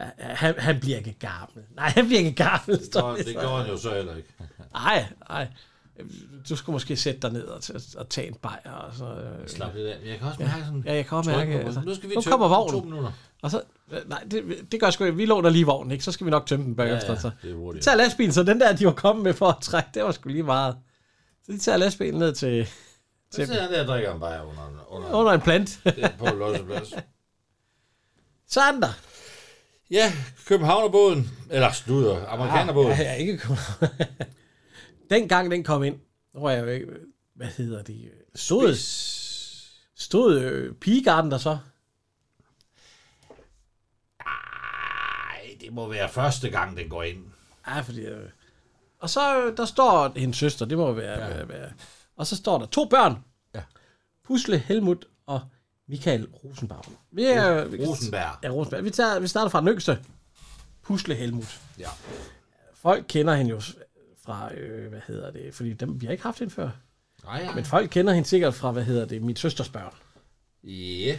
Ja, ja, Han, han bliver ikke gammel. Nej, han bliver ikke gammel. Det gør, det gør han jo så heller ikke. Nej, nej. Du skulle måske sætte dig ned og, t- og tage en bajer. Og så, øh, Slap lidt af. Men jeg kan også ja. mærke sådan... Ja, jeg kan også tryk mærke. på- Altså. Nu skal vi nu tømme kommer den vognen. to minutter. Og så, øh, nej, det, det gør sgu ikke. Vi låner lige vognen, ikke? Så skal vi nok tømme den bagefter. Ja, ja, så. det er hurtigt. De tager lastbilen, så den der, de var kommet med for at trække, det var sgu lige meget. Så de tager lastbilen ned til, Så til sidder han der og drikker en bajer under, under, under en plant. Det er på Losseplads. så er den der. Ja, Københavnerbåden. Eller sluder, amerikanerbåden. Ah, ja, ja, ikke kun. Dengang den kom ind, nu var jeg jo ikke, hvad hedder det? Stod, stod øh, pigegarden der så? Nej, det må være første gang, den går ind. Ja, fordi... Øh, og så øh, der står hendes søster, det må være... Ja. være, være og så står der to børn. Ja. Pusle Helmut og Michael Rosenbaum. Vi er, vi, Rosenberg. Ja, Rosenberg. Vi, tager, vi starter fra den yngste. Pusle Helmut. Ja. Folk kender hende jo s- fra, øh, hvad hedder det, fordi dem, vi har ikke haft hende før. Nej, Ah, ja. Men folk kender hende sikkert fra, hvad hedder det, mit søsters børn. ja.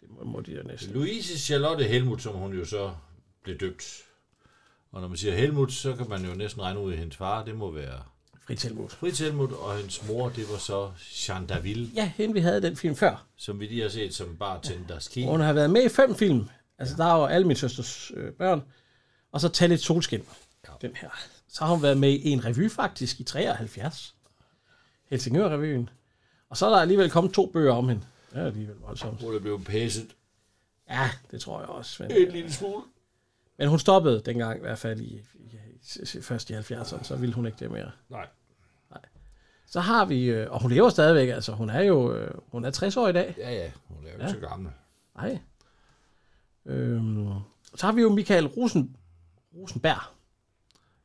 Det må, må de jo næsten. Louise Charlotte Helmut, som hun jo så blev døbt. Og når man siger Helmut, så kan man jo næsten regne ud, at hendes far, det må være Fritz Helmut. Fritz Helmut, og hendes mor, det var så Jean Daville, Ja, hende vi havde i den film før. som vi lige har set som bartenders key. Og Hun har været med i fem film. Altså, der er jo alle mine søsters øh, børn. Og så Tag lidt solskin. Ja. Den her. Så har hun været med i en revy faktisk i 73. Helsingør-revyen. Og så er der alligevel kommet to bøger om hende. Det er alligevel voldsomt. Hun er blevet pæset Ja, det tror jeg også. Men, øh, en lille smule. men hun stoppede dengang i hvert fald i, i, i, først i 70'erne, så ville hun ikke det mere. Nej. Så har vi, øh, og hun lever stadigvæk, altså hun er jo, øh, hun er 60 år i dag. Ja, ja, hun er jo ikke så gammel. Nej. Øhm, så har vi jo Michael Rosen, Rosenberg.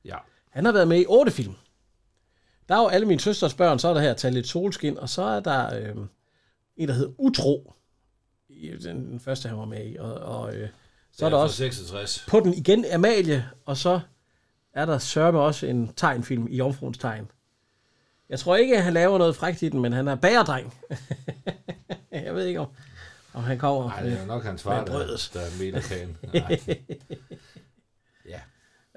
Ja. Han har været med i otte film. Der er jo alle mine søsters børn, så er der her Tag lidt solskin, og så er der øhm, en, der hedder Utro. I Den, den første, han var med i. Og, og øh, så er der fra også 66. på den igen Amalie, og så er der sørme også en tegnfilm i Jomfruens Tegn. Jeg tror ikke, at han laver noget frækt i den, men han er bagerdreng. Jeg ved ikke, om, om han kommer Nej, det er nok hans far, der, der mener kagen. ja.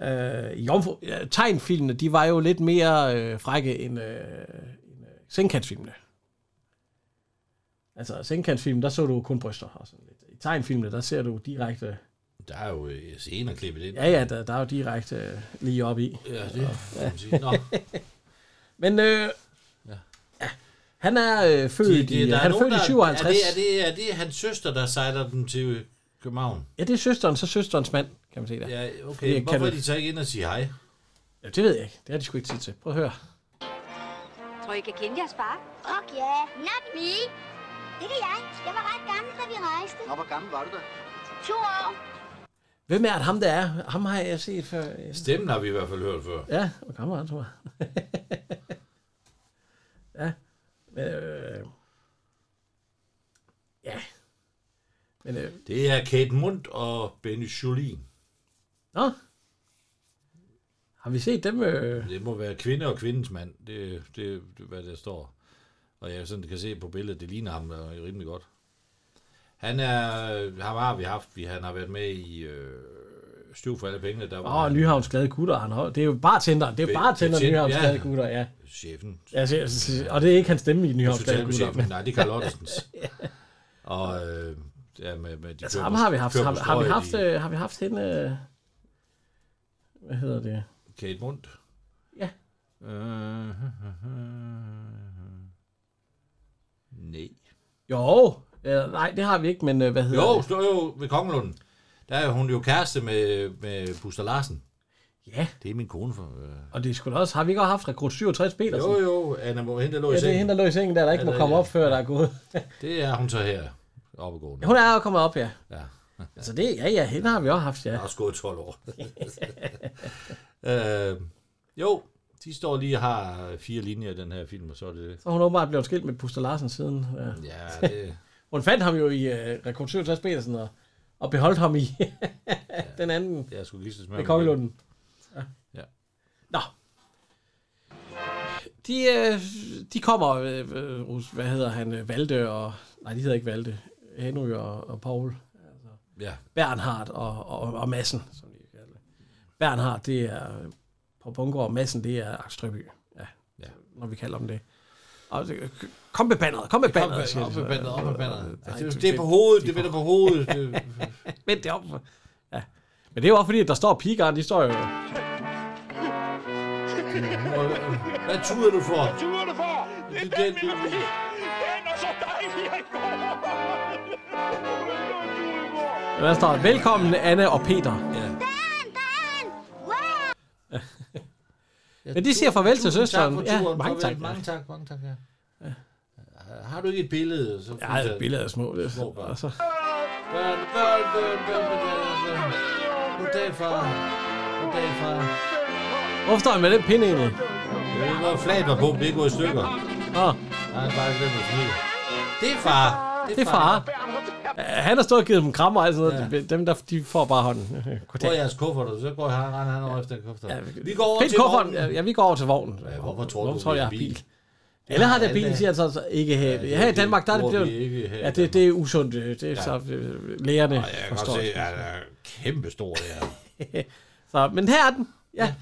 Øh, jomfru, ja, tegnfilmene, de var jo lidt mere øh, frække end, øh, end øh, sengkantsfilmene. Altså, sengkantsfilmen, der så du kun bryster og sådan lidt. I tegnfilmene, der ser du direkte... Der er jo øh, scener klippet ind. Ja, ja, der, der er jo direkte øh, lige op i. Ja, det kan man sige. Nå. Men øh, ja. han er øh, født, De- i, de- der han er nogen, født i der- 57. Er det, er, det, er det hans søster, der sejler dem til øh, København? Ja, det er søsteren, så søsterens mand, kan man sige det. Ja, okay. Fordi, Hvorfor kan er du- de så ikke ind og sige hej? Ja, det ved jeg ikke. Det har de sgu ikke tid til. Prøv at høre. Tror I kan kende jeres far? Og ja, not me. Det kan jeg. Jeg var ret gammel, da vi rejste. Nå, hvor gammel var du da? To år. Hvem er det ham, der er? Ham har jeg set før. Stemmen har vi i hvert fald hørt før. Ja, hvor gammel er han, tror jeg. ja. Men, øh, ja. Men, øh, Det er Kate Mundt og Benny Jolin. nå. Har vi set dem? Øh, Det må være kvinde og kvindens mand. Det, det, det er, hvad der står. Og jeg sådan kan se på billedet, det ligner ham der er rimelig godt. Han er, ham har vi haft, vi, han har været med i øh, Støv for alle pengene, der var Åh, oh, Nyhavns Glade Gutter, han har, det er jo bartenderen, det er jo Be- bartenderen, betjent, Nyhavns ja. Glade Gutter, ja. chefen. Ja, så- så- og det er ikke hans stemme i Nyhavns Glade Gutter. Hospitalchefen, Men, nej, det er Carl Ottesens. Og øh, ja, med, med de altså, kører ham på- har vi haft, kører har, på har, vi strøget haft, i øh, har vi haft hende, øh, hvad hedder det? Kate Mundt. Ja. Øh, nej. Jo, ja, nej, det har vi ikke, men øh, hvad hedder Jo, det? står jo ved Kongelunden. Der er hun jo kæreste med, med Buster Larsen. Ja. Det er min kone for... Øh. Og det skulle også, har vi ikke også haft rekrut 67 Petersen? Jo, jo, Anna må hente Ja, lå i det er sengen. hende, der lå i sengen der, der ikke Ja, må der- komme ja. op, før der er gået. Det er hun så her, oppegående. Hun er jo kommet op, ja. Ja. Så det, ja, ja, hende har vi også haft, ja. Jeg har også gået 12 år. øh, jo, de står lige og har fire linjer i den her film, og så er det det. Så er hun åbenbart blevet skilt med Buster Larsen siden. Ja, det- hun fandt ham jo i uh, Rekord 67 Petersen og, og beholdt ham i den anden. Jeg skulle gisses med Med ham. kongelunden. Ja. Ja. Nå. De, øh, de kommer, øh, øh, Rus- hvad hedder han, øh, Valde og... Nej, de hedder ikke Valde. Henry og, og Paul. Altså, Ja. Bernhard og, og, og Massen, som de kalder det. Bernhard, det er øh, på Bungård, og Massen, det er Akstrøby. Ja, ja. når vi kalder dem det. Og, det- øh, kom med banderet, kom med Kom med- banderet, siger de op så. med banderet, op med banderet. Nej, Altså, det- det er på hovedet, det vender på hovedet. Det- Vend det om. Ja. Men det er jo også fordi, at der står pigerne, de står jo... Hvad tuder du for? Hvad tuder du for? Det er den, min pige. Den er så dejlig, jeg Der står, velkommen Anne og Peter. Ja. Men de siger farvel til Tusind søsteren. Tak for ja, turen. mange Farvel. tak. Mange tak, mange tak, ja. Har du ikke et billede? Så Ja, et billede af små. Det, små børn. altså. Børn, børn, børn, børn, børn, børn, børn. Goddag, far. Goddag, far. Hvorfor står han med den pinde egentlig? Det er noget flag, der er på, men det er gået i stykker. Ah. Nej, bare glemt at smide. Det er far. Det er far. Ja, Han har stået og givet dem krammer og alt sådan noget. Dem, der, de får bare hånden. Prøv jeres kuffert, og så går jeg han han over efter kufferten. Vi går over Find til kufferten. vognen. Ja, vi går over til vognen. Ja, hvorfor tror Hvorfor du, tror vi jeg har har bil? bil? Alle har der alle- bil, siger han så, så ikke her. det- her i Danmark, der er det bruger blevet... vi ikke her i Ja, det, det er usundt. øh, Det er Ja. så øh, lægerne Jeg kan forstår. godt se, det. at han er kæmpestor, det her. Så, men her er den. Ja.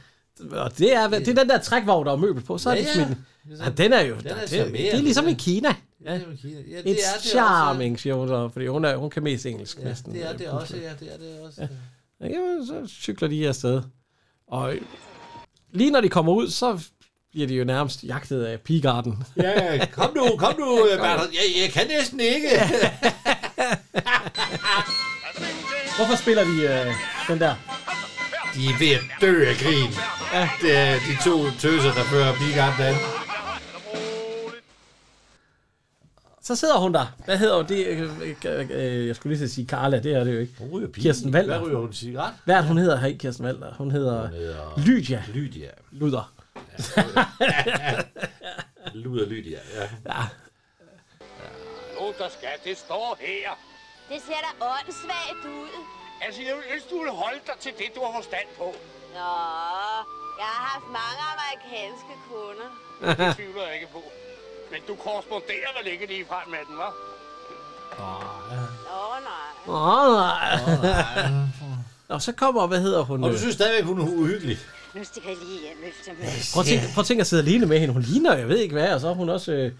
Og det er, det er den der trækvogn, der er møbel på. Så er Ja, det ja. smidt. Det er Ja, den er jo... Den der- er det, charmerende, det er ligesom i ja. Kina. Ja, det er jo Kina. ja, det er It's det charming, siger hun så, fordi hun, er, hun kan mest engelsk også. næsten. Ja, det er det øh, også, ja, det er det også. Jamen, så cykler de afsted. Og lige når de kommer ud, så bliver de jo nærmest jagtet af pigarden. Ja, kom nu, kom nu, Bertrand. Jeg, jeg kan næsten ikke. Hvorfor spiller de øh, den der? De er ved at dø af grin. Ja. Det er de to tøser, der fører pigarden an. Så sidder hun der. Hvad hedder hun? Det, øh, øh, øh, jeg skulle lige til at sige Carla, det er det jo ikke. Hun ryger pil. Kirsten Valder. Hvad ryger hun? Cigaret? Hvad er det, hun hedder her ikke, Kirsten Valder? Hun hedder, Hun hedder- Lydia. Lydia. Luder. Luder Lydia, ja. ja. Nu, der skal det stå her. Det ser da åndssvagt ud. Altså, jeg ønsker, du ville holde dig til det, du har forstand på. Nå, jeg har haft mange amerikanske kunder. Det tvivler jeg ikke på. Men du korresponderer vel ikke lige frem med den, hva'? Nå, nej. Åh, nej. Og så kommer, hvad hedder hun? Og øh, du synes stadigvæk, hun er uhyggelig. Nu skal jeg lige hjem efter mig. Prøv at, tænke, prøv at tænke at sidde alene med hende. Hun ligner, jeg ved ikke hvad, og så er hun også øh,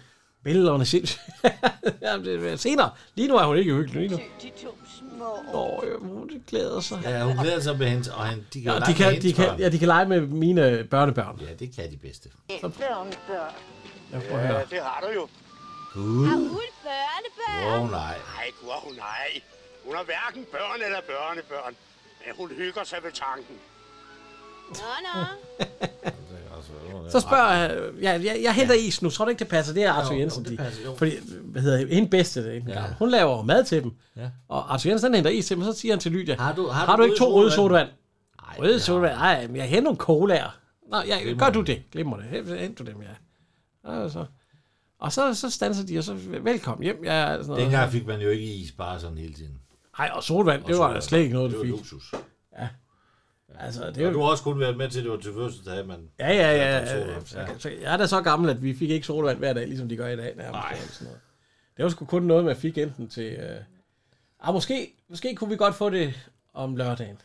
billederne sindssygt. Jamen, det er senere. Lige nu er hun ikke hyggelig. Lige nu. De to små. Åh, øh, hun glæder sig. Ja, hun glæder sig med hendes, og han, de kan Ja, jo de, lege med kan, de, hendes kan, børn. ja, de kan lege med mine børnebørn. Ja, det kan de bedste. Æble om børn. Jeg prøver her. det har du jo. Uh, Uld børnebørn. wow, oh, nej. Nej, wow, nej. Hun har hverken børn eller børnebørn. Men hun hygger sig ved tanken. Nå, nå. Så spørger jeg, ja, jeg, jeg henter ja. is nu, tror du ikke, det passer? Det er Arthur Jo, jo, Jensen. det de- passer, jo. fordi, hvad hedder hende bedste, det, ja. hun laver jo mad til dem. Ja. Og Arthur Jensen han henter is til dem, og så siger han til Lydia, har du, har du ikke to røde sodavand? Røde det har sodavand? Nej, men jeg henter nogle colaer. Nå, ja, Glimrende. gør du det. Glemmer det. Hent- Hent du dem, ja. Og så, og så, så stanser de, og så velkommen hjem. Ja, sådan noget. Dengang fik man jo ikke is bare sådan hele tiden. Ej, og sodavand, det var da sodavand. slet ikke noget, Det du var fik. luksus. Ja. Altså, det er Det og jo... du har også kun været med til, at det var til fødselsdag, man... Ja, ja, ja. man ja, så ja. det. Så, så, jeg er da så gammel, at vi fik ikke solvand hver dag, ligesom de gør i dag. Nærmest, Nej. Sådan noget. Det var sgu kun noget, man fik enten til... Øh... Ah, måske, måske kunne vi godt få det om lørdagen.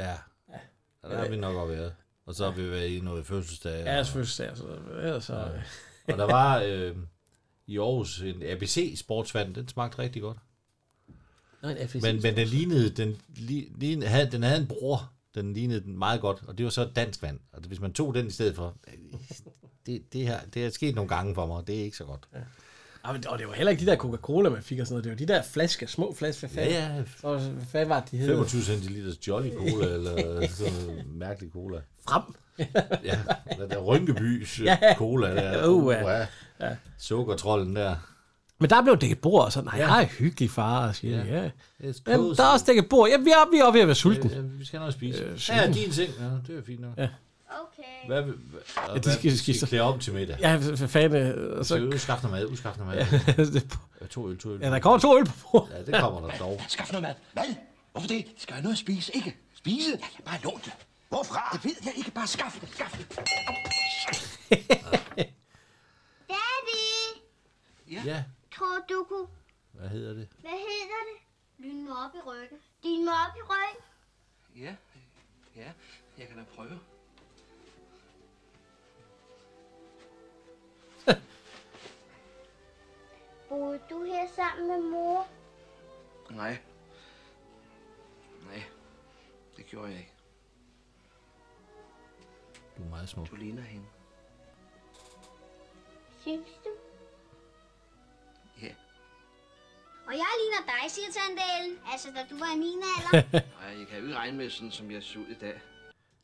Ja. ja. Der har vi nok også været. Og så har vi været i noget fødselsdag. Ja, og- selvfølgelig. Altså, ellers så... Ja. Og der var øh, i Aarhus en ABC sportsvand, den smagte rigtig godt. Nå, en FSC. Men, men den lignede, den, li, lignede, havde, den havde en bror, den lignede den meget godt, og det var så dansk vand. Og hvis man tog den i stedet for, øh, det, det, her, det er sket nogle gange for mig, og det er ikke så godt. Ah, men, og det var heller ikke de der Coca-Cola, man fik og sådan noget. Det var de der flasker, små flasker. Hvad fanden- Ja, ja. Så, hvad fanden var det, de hed? 25 centiliters Jolly Cola, eller sådan noget mærkelig cola. Frem. Ja, der, der Rynkebys øh, Ja, ja. cola der. Uh, ja. ja. Sukkertrollen der. Men der blev dækket bord og sådan. Nej, jeg er hyggelig far. Og siger, ja. ja. It's Jamen, cozy. der er også dækket bord. Ja, vi er, vi er oppe ved at være sulten. Ja, vi skal have noget at spise. Øh, ja, sulten. din ting. Ja, det er fint nok. Ja. Okay. Hvad, vil- hvad, ja, de de skal- skal, skal skal, så- skal klæde op til middag. Ja, for fanden. øh, Og Så så, udskaff noget mad, udskaff noget mad. Ja, to øl, to øl. ja, der kommer to øl på bordet. Ja, det kommer der dog. Skaff noget mad. Hvad? Hvorfor det? Skal jeg noget at spise? Ikke? Spise? Ja, jeg bare lån det. Hvorfra? Det ved jeg ikke. Bare skaff det. Skaff det. Au. Daddy, Ja, tror du kunne... hvad hedder det? Hvad hedder det? Lyne mig op i ryggen. Lyne mig op i ryggen. Ja, ja. Jeg kan da prøve. Boede du her sammen med mor? Nej. Nej. Det gjorde jeg ikke. Du er meget smuk. Du ligner hende. Synes du? Ja. Og jeg ligner dig, siger tandalen. Altså, da du var i min alder. Nej, jeg kan jo ikke regne med sådan, som jeg ser ud i dag.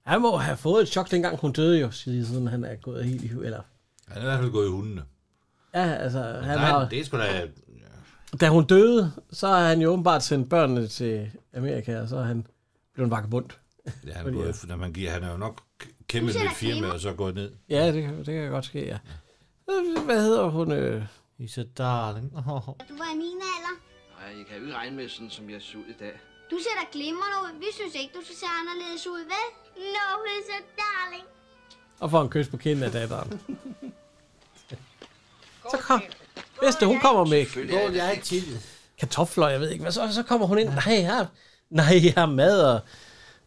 Han må have fået et chok, dengang hun døde jo, siden han er gået helt i hu- eller... Han er i hvert fald gået i hundene. Ja, altså, han Nej, har, det er sgu da... da hun døde, så har han jo åbenbart sendt børnene til Amerika, og så er han blevet vagabund. Ja, han, er Fordi- gået, når man giver, han er jo nok kæmpe Du med sætter et firma, klima. og så går ned. Ja, det, kan- det kan godt ske, ja. Hvad hedder hun? Øh? Isa Darling. Da du var i min alder. Nej, jeg kan jo ikke regne med sådan, som jeg ser ud i dag. Du ser da glimrende ud. Vi synes ikke, du skal se anderledes ud, vel? No, he's a darling. Og får en kys på kinden af datteren. så kom. Hvis det, hun kommer med Selvfølgelig er det. Jeg er ikke til det. kartofler, jeg ved ikke hvad, så, så kommer hun ind. Nej, jeg har, nej, jeg har mad og,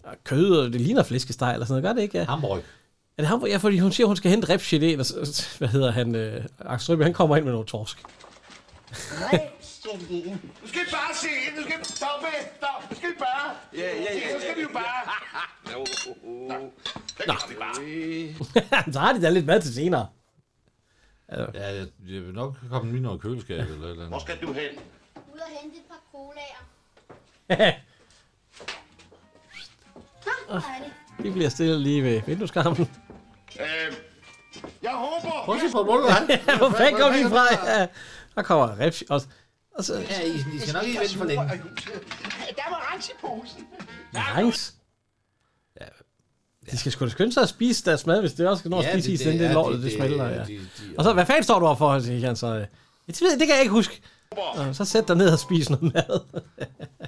og kød, og det ligner flæskesteg eller sådan noget. Gør det ikke? Ja. Hamburg. Er det Hamburg? Ja, fordi hun siger, hun skal hente ribsgeléen, og så, hvad hedder han? Øh, Axel Strøby, han kommer ind med noget torsk. Nu skal I bare se, nu skal I stoppe, stop, nu skal I bare. Ja, ja, ja, Så skal vi jo bare. Jo, oh, oh. Nå. vi bare. så har de da lidt mad til senere. Ja, jeg, jeg vil nok komme lige noget køleskab eller et eller andet. Hvor skal du hen? Ud og hente et par colaer. Nå, hvor er det? Vi bliver stille lige ved vindueskarmen. Øh, jeg håber... Prøv at se på Ja, hvor fanden kom vi fra? Ja, der kommer ribs også. Og så, Ja, I, I skal nok ikke vente for længe. Der var rens i posen. Langs. De skal sgu da skynde sig at spise deres mad, hvis det også skal nå at Ja, spise det- is, inden det det er- lortet, det- det det- smelter. de- Ja. de- Og så, hvad fanden står du over for, siger han så. øh, Det ved jeg- det kan jeg ikke huske. Og så sæt dig ned og spis noget mad.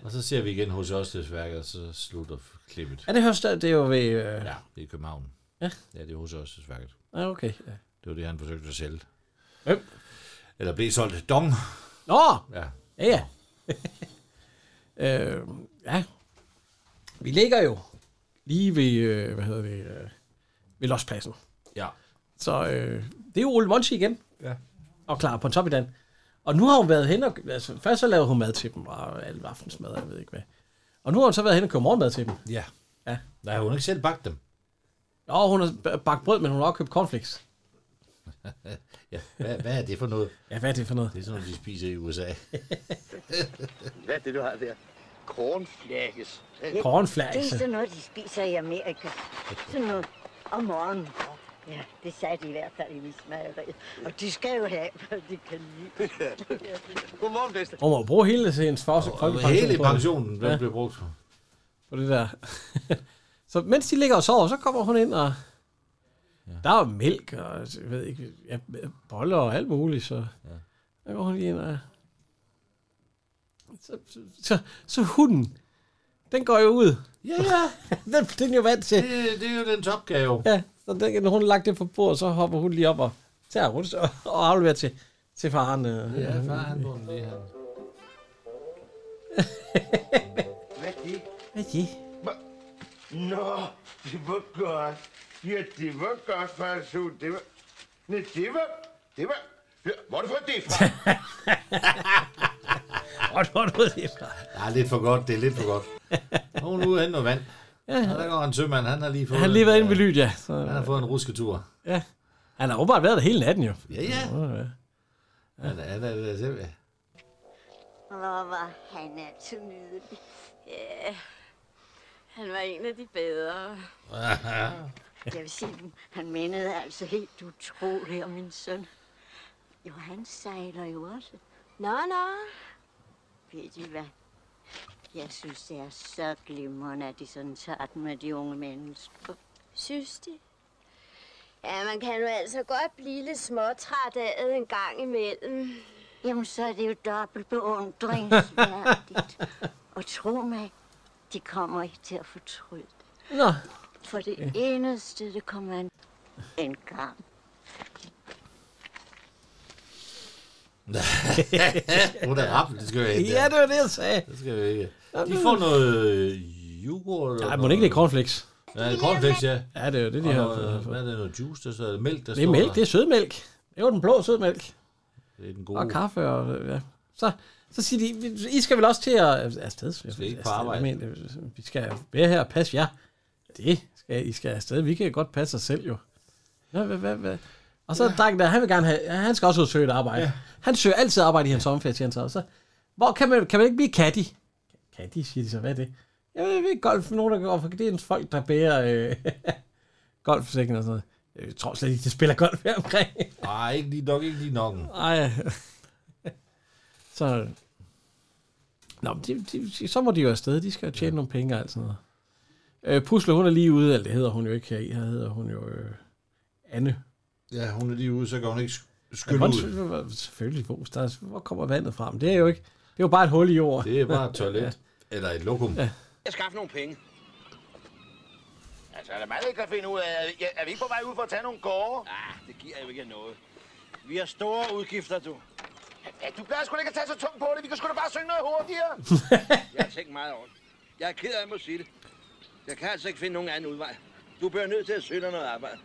Og så ser vi igen hos Ørstedsværket, og så slutter klippet. Ja, det høres det er jo ved... Øh... Ja, det er i København. Ja. Ja, det er hos Ørstedsværket. Ah, okay. Ja. Det var det, han forsøgte at sælge. Hvem? Eller blev solgt. Dong. Nå! Ja. Ja, ja. øh, ja. Vi ligger jo lige ved, øh, hvad hedder det, øh, ved Lodspladsen. Ja. Så øh, det er jo Ole Monchi igen. Ja. Og klar på en top i den. Og nu har hun været hen og... Altså, først så lavede hun mad til dem, og alt aftensmad, jeg ved ikke hvad. Og nu har hun så været hen og købt morgenmad til dem. Ja. Ja. Nej, hun har ikke selv bagt dem. Jo, hun har bagt brød, men hun har også købt cornflakes. ja. Hvad, hvad er det for noget? Ja, hvad er det for noget? Det er sådan noget, de spiser i USA. Hvad er det, du har der? Kornflækkes. Cornflakes. Det er sådan noget, de spiser i Amerika. Sådan noget om morgenen. Ja, det sagde de i hvert fald i min smageri. Og de skal jo have, hvad de kan lide. Godmorgen, bedste. Hun må jo bruge hele hendes første folkepension. hele på det. pensionen, den blev brugt. På det der. så mens de ligger og sover, så kommer hun ind og... Der er jo mælk og altså, jeg ved ikke, ja, boller og alt muligt, så... Ja. Der går hun lige ind og... Så, så, så, så hunden, den går jo ud. Ja, ja. den, den er jo vant til. Det, det er jo den topgave. Ja, så den, når hun har lagt det på bordet, så hopper hun lige op og tager rundt og, og afleverer til, til faren. øh. Ja, far, han bruger den lige her. Hvad er det? Hvad er det? Nå, det var godt. Ja, det var godt, far Sol. Altså, Det var... Nej, det var... Det var... Ja, Hvor er det for det fra? Hvor er det det fra? Nej, lidt for godt. Det er lidt for godt. Nu er hun ude og hente noget vand. Ja, ja. Der går en sømand. Han har lige fået... Han har lige været en, inde ved Lydia. Så, øh, Han har fået en rusketur. Ja. Han har åbenbart været der hele natten jo. Ja, ja. Han er, han er, han er simpelthen... Åh, var han altid nydelig. Ja, han var en af de bedre. Jeg vil sige, han mindede altså helt utroligt om min søn. Jo, han sejler jo også. Nå, nå. Ved I hvad? Jeg synes, det er så glimrende, at de sådan tager den med de unge mennesker. Synes de? Ja, man kan jo altså godt blive lidt småtræt af det en gang imellem. Jamen, så er det jo dobbelt beundringsværdigt. Og tro mig, de kommer ikke til at fortryde det. Nå. For det eneste, det kommer an en gang. Hun er rappen, det skal vi ikke. Ja, det var det, jeg sagde. Det skal vi ikke. De nu- får noget øh, yoghurt. Nej, må det ikke det er cornflakes? Ja, cornflakes, ja. Ja, det er jo det, de Og har fået- noget- Hvad er det, noget juice, der står? Mælk, der Det er står mælk, der. det er sødmælk. Det er jo den blå sødmælk. Det er den gode. Og kaffe og... øh, Ja. Så, så siger de, "Vi- I skal vel også til at... Afsted. Skal ikke på arbejde? Men, øh, vi skal være her og passe jer. Det skal I skal afsted. Vi kan godt passe os selv jo. Nå, hvad, hvad, hvad? Og så ja. drengen der, han vil gerne have... ja, Han skal også ud og søge et arbejde. Ja. Han søger altid arbejde i hans sommerferie, siger han så. så hvor kan man, kan man ikke blive caddy? Caddy, siger de så. Hvad er det? Jeg ved ikke, golf for nogen, der går for det er en folk, der bærer øh, golfforsikring og sådan noget. Jeg tror slet ikke, de spiller golf her omkring. Nej, ikke lige nok, ikke lige nok. Ej. så... Nå, men de, de, så må de jo afsted. De skal jo tjene ja. nogle penge og alt sådan noget. Øh, Pusle, hun er lige ude. Eller det hedder hun jo ikke her i. Her hedder hun jo øh, Anne. Ja, hun er lige ude, så kan hun ikke sk- skylde Ja, ud. hvor- Selvfølgelig, hvor, der, er- hvor kommer vandet fra? Men det er jo ikke... Det er jo bare et hul i jorden. Det er bare et toilet. Eller et lokum. Ja. Jeg skaffe nogle penge. Altså, er der meget, jeg kan finde ud af? Ja, Er vi ikke på vej ud for at tage nogle gårde? Ah, det giver jo ikke noget. Vi har store udgifter, du. Ja, du plejer sgu da ikke at tage så tungt på det. Vi kan sgu da bare synge noget hurtigere. jeg har tænkt meget over det. Jeg er ked af, at jeg må sige det. Jeg kan altså ikke finde nogen anden udvej. Du bliver nødt til at søge dig noget arbejde.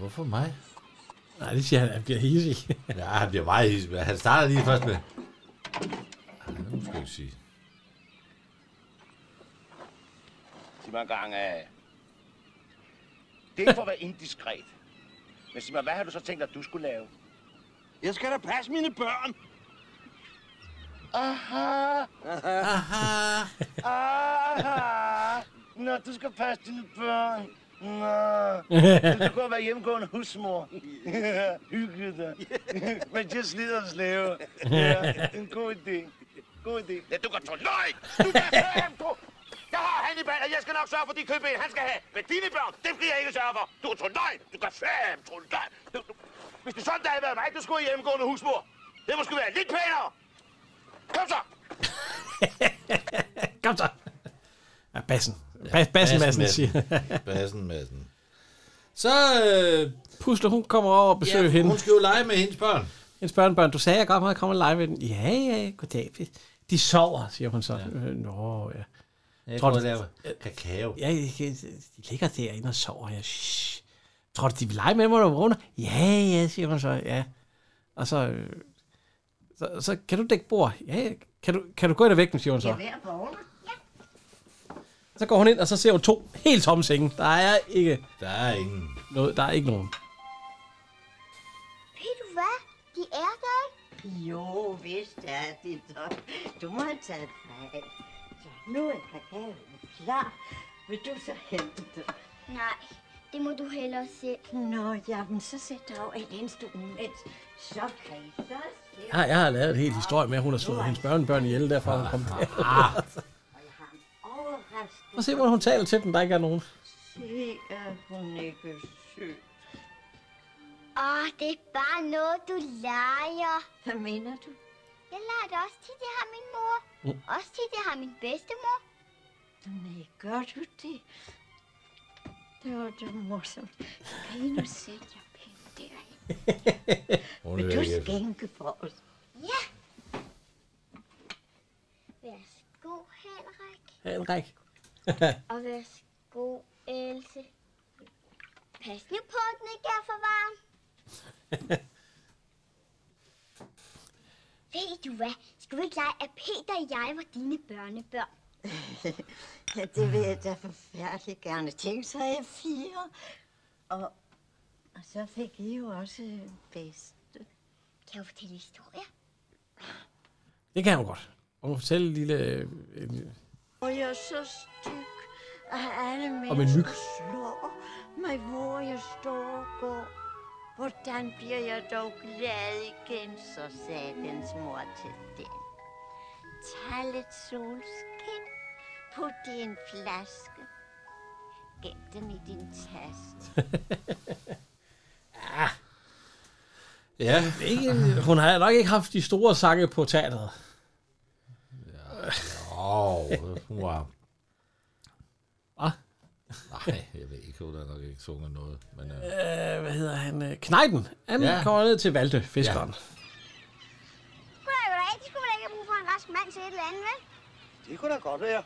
Hvorfor mig? Nej, det siger han, han bliver hisig. Ja, han bliver meget hissig. men Han starter lige først med... Ej, det må jeg ikke sige. Sig mig engang, uh... det er for at være indiskret. Men sig mig, hvad har du så tænkt dig, du skulle lave? Jeg skal da passe mine børn. Aha. Aha. Aha. Aha. Nå, Ah, du skal passe dine børn. Nå. Du skal være hjemmegående husmor. Hyggeligt dig. Men jeg slider og slæver. Ja, en god idé. God idé. Ja, du går til løg! Du kan høre ham på! Jeg har Hannibal, og jeg skal nok sørge for de kødben, han skal have. Men dine børn, dem skal jeg ikke sørge for. Du er trolløgn. Du kan fam, trolløgn. Du, du. Hvis det sådan, der havde været mig, du skulle have hjemmegående husmor. Det må sgu være lidt pænere. Kom så! Kom så! Ja, bassen. Bas, bassen, bassen, siger Bassen, Madsen. Så... Øh, Pusler, hun kommer over og besøger ja, hende. hun skal jo lege med hendes børn. hendes børnebørn, du sagde, jeg godt måtte komme og lege med den. Ja, ja, goddag. De sover, siger hun så. Ja. Nå, ja. Jeg Tror prøver du- at lave kakao. Ja, de de ligger derinde og sover. Jeg, shh. Tror du, de vil lege med mig, når du vågner? Ja, ja, siger hun så. Ja. Og så, øh, så, så kan du dække bord? Ja, ja. kan du, kan du gå ind og vække dem, siger hun så. Jeg er ved at vågne. Så går hun ind, og så ser hun to helt tomme senge. Der er ikke... Der er ingen. Noget, der er ikke nogen. Ved du hvad? De er der ikke. Jo, vist er det dog. Du må have taget fejl. Så nu er kakaoen klar. Vil du så hente den? Nej, det må du hellere selv. Nå, jamen, så sæt dig over i et instrument. Så kredser Ja, jeg har lavet en hel historie med, at hun har slået hendes børnebørn ihjel, derfor hun kom der. overrasket. Og se, hvordan hun taler til dem, der ikke er nogen. Se, at hun ikke er syg. Åh, det er bare noget, du leger. Hvad mener du? Jeg leger det også tit, jeg har min mor. Mm. Også tit, jeg har min bedstemor. Nej, gør du det? Det var da morsomt. Kan I nu sætte jer pænt derhen? Hun Vil hører du ikke efter. skænke for os? Ja. Værsgo, Henrik. Henrik. Og værsgo, Else. Pas nu på, at den ikke er for varm. Ved du hvad? Skal vi ikke lege, at Peter og jeg var dine børnebørn? Ja, det vil jeg da forfærdeligt gerne. Tænk, så er jeg fire. Og, og så fik I jo også øh, en bedste. Kan jeg fortælle historier? Det kan hun godt. Og hun fortæller en lille... øh, en- Og jeg er så styg, at alle Og med myg. mennesker slår mig, hvor jeg står og går. Hvordan bliver jeg dog glad igen, så sagde dens mor til den. Tag lidt solskin, put det i en flaske, gem den i din taske. Ja. Ikke, hun har nok ikke haft de store sange på teateret. Åh, hun var... Hvad? Nej, jeg ved ikke, hun har nok ikke sunget noget. Men, øh, Øh, hvad hedder han? Øh, Knejden. Han ja. Ja. kommer ned til Valde, fiskeren. Ja. Goddag, goddag. Det skulle man da ikke have brug for en rask mand til et eller andet, vel? Det kunne da godt være.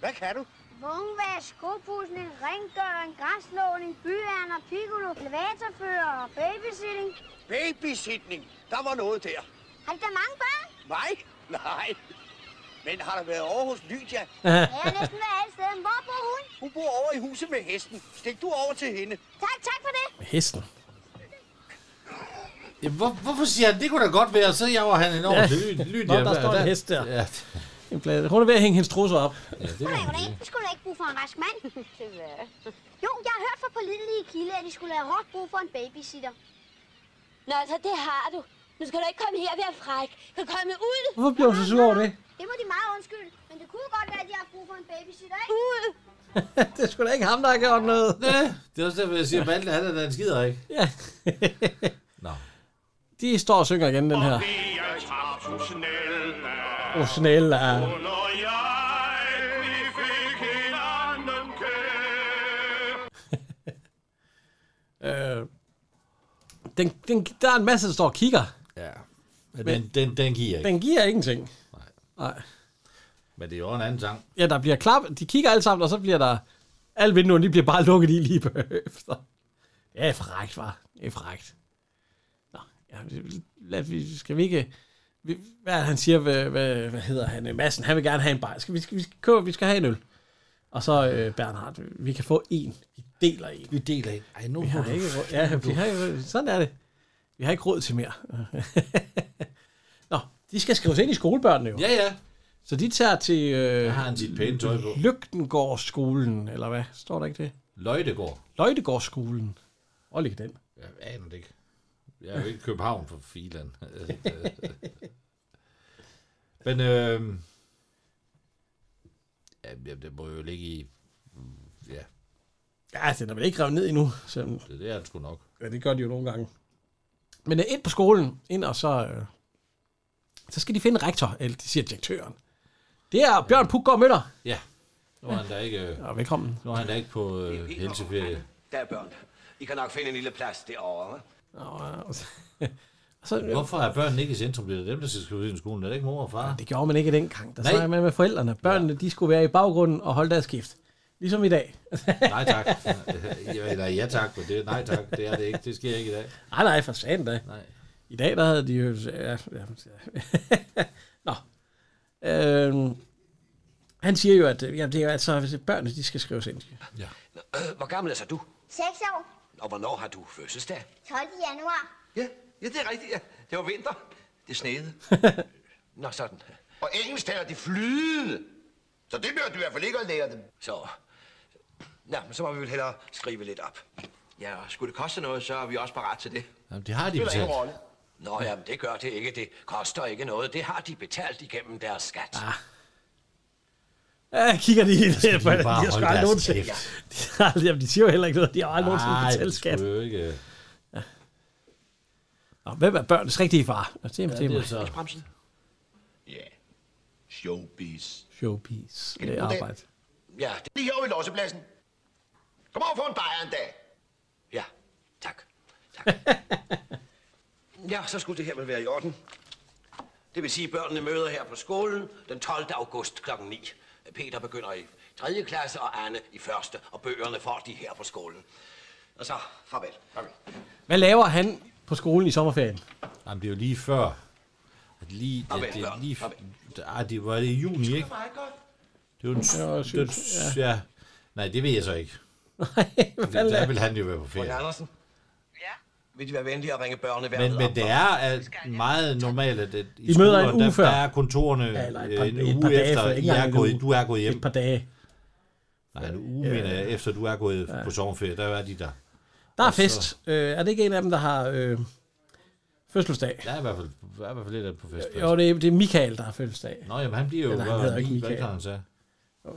Hvad kan du? Vognvask, skopudsning, rengøring, græslåning, byærner, piccolo, elevatorfører og babysitting. Babysitning. Der var noget der. Har du da mange børn? Mig? Nej. Men har der været over hos Lydia? Jeg er næsten hver alle steder. Hvor bor hun? Hun bor over i huset med hesten. Stik du over til hende. Tak, tak for det. Hesten. Ja, hvor, hvorfor siger han, det kunne da godt være, så jeg var han enormt Ja. ja. lyd, lyd, Nå, der står en hest der. Ja, En plade. Hun er ved at hænge hendes trusser op. ja det Goddag, var goddag. Det skulle du da ikke bruge for en rask mand. Jo, jeg har hørt fra pålidelige kilder, at de skulle have hårdt brug for en babysitter. Nå, så det har du. Nu skal du ikke komme her og være fræk. Du kan komme ud. Hvorfor bliver hun så sur over det? Det må de meget undskylde, men det kunne godt være, at de har haft brug for en babysitter, ikke? Ud. det er sgu da ikke ham, der har gjort noget. Ja. Det er også derfor, jeg siger, Valde, han er da en skider, ikke? Ja. Nå. De står og synger igen, den her. Oh, snæl er... Øh, den, den, der er en masse, der står og kigger. Ja. Men, den, den, den giver ikke. Den giver ingenting. Nej. Nej. Men det er jo en anden sang. Ja, der bliver klap. De kigger alle sammen, og så bliver der... Alle vinduerne, de bliver bare lukket i lige bagefter. Det er frækt, var. Det er frækt. Nå, ja, lad, vi, skal vi ikke... Vi, hvad er det, han siger? Hvad, hvad, hvad hedder han? Øh, Madsen, han vil gerne have en bajer. Skal vi, skal, vi, skal, købe, vi skal have en øl. Og så, øh, Bernhard, vi kan få en. Vi deler en. Vi deler en. Ej, nu vi har ikke, råd- ja, vi har, ikke- sådan er det. Vi har ikke råd til mere. Nå, de skal skrives ind i skolebørnene jo. Ja, ja. Så de tager til... Øh, har han sit pæne tøj på. Lygtengårdsskolen, eller hvad? Står der ikke det? Løjtegård. Løjtegårdsskolen. Og ligge den. Jeg aner det ikke. Jeg er jo ikke i København for filan. Men øh, ja, jamen, det må jo ligge i... Ja, Ja, den er vel ikke revet ned endnu. Så, det der er det sgu nok. ja, det gør de jo nogle gange. Men øh, ind på skolen, ind og så... Øh, så skal de finde rektor, eller de siger direktøren. Det er Bjørn Puggaard Møller. Ja, nu er han da ikke, øh, Ja, velkommen. nu er han da ikke på øh, helseferie. Der er børn. I kan nok finde en lille plads derovre, hva'? Og, øh, Så, Hvorfor er børnene ikke i centrum? Det er dem, der skal ud i skolen. Det er ikke mor og far. Det gjorde man ikke dengang. Der Nej. snakkede man med forældrene. Børnene, de skulle være i baggrunden og holde deres skift. Ligesom i dag. Nej tak. Ja, Eller ja tak, men det er nej tak. Det er det ikke. Det sker ikke i dag. Ah, Nej, nej, for satan da. Nej. I dag, der havde de jo... Ja, ja, ja. Nå. Øhm, han siger jo, at øh, jamen, det er jo altså, hvis børnene de skal skrives ind. Ja. Nå, øh, hvor gammel er så du? 6 år. Og hvornår har du fødselsdag? 12. januar. Ja, ja det er rigtigt. Ja. Det var vinter. Det snede. Nå, sådan. Og engelsk taler de flydende. Så det bliver du i hvert fald ikke at lære dem. Så. Nå, men så må vi vel hellere skrive lidt op. Ja, og skulle det koste noget, så er vi også parat til det. Jamen, det har de Spiller ingen betalt. rolle. Nå, jamen, det gør det ikke. Det koster ikke noget. Det har de betalt igennem deres skat. Ah. Ja, kigger de i det. De Altså, de bare har sgu holde aldrig deres nogensinde. kæft. De, har aldrig- jamen, de siger jo heller ikke noget. De har aldrig nogensinde Nej, betalt det skat. skulle jo ikke. øh, Nå, hvem er børnenes rigtige far? Nå, Det er, Ja, det er så. Bremsen. Ja. Showbiz. Showbiz. Det er arbejde. Ja, det er lige herovre i lossepladsen. Kom over for en bajer en dag. Ja, tak. tak. ja, så skulle det her vel være i orden. Det vil sige, at børnene møder her på skolen den 12. august kl. 9. Peter begynder i 3. klasse, og Anne i 1. Og bøgerne får de her på skolen. Og så, farvel. farvel. Hvad laver han på skolen i sommerferien? Jamen, det er jo lige før. At Lige, Farvel, det, det, er børn. lige, ah, det var det i juni, ikke? Det var den, Det var den, sygt, ja. Nej, det ved jeg så ikke. Nej, fanden der er- vil han jo være på Frøken ferie. Andersen? Ja? Vil de være venlige at ringe børnene hver Men, ved men op? det er at meget normalt, at at i I møder en skolerne, uge der, før. der er kontorerne Ja, ja, eller et par, en et uge par dage efter, før, I ikke er engang en gået, uge. du er gået hjem. Et par dage. Nej, en uge, mener jeg, efter du er gået på sommerferie, der er de der. Der er Og så- fest. Øh, er det ikke en af dem, der har øh, fødselsdag? Der er i hvert fald, der er i hvert fald lidt af på fest. Jo, det er, det er Michael, der har fødselsdag. Nå, jamen, han bliver jo- Eller han hvad- hedder ikke hvad Michael. kan han så?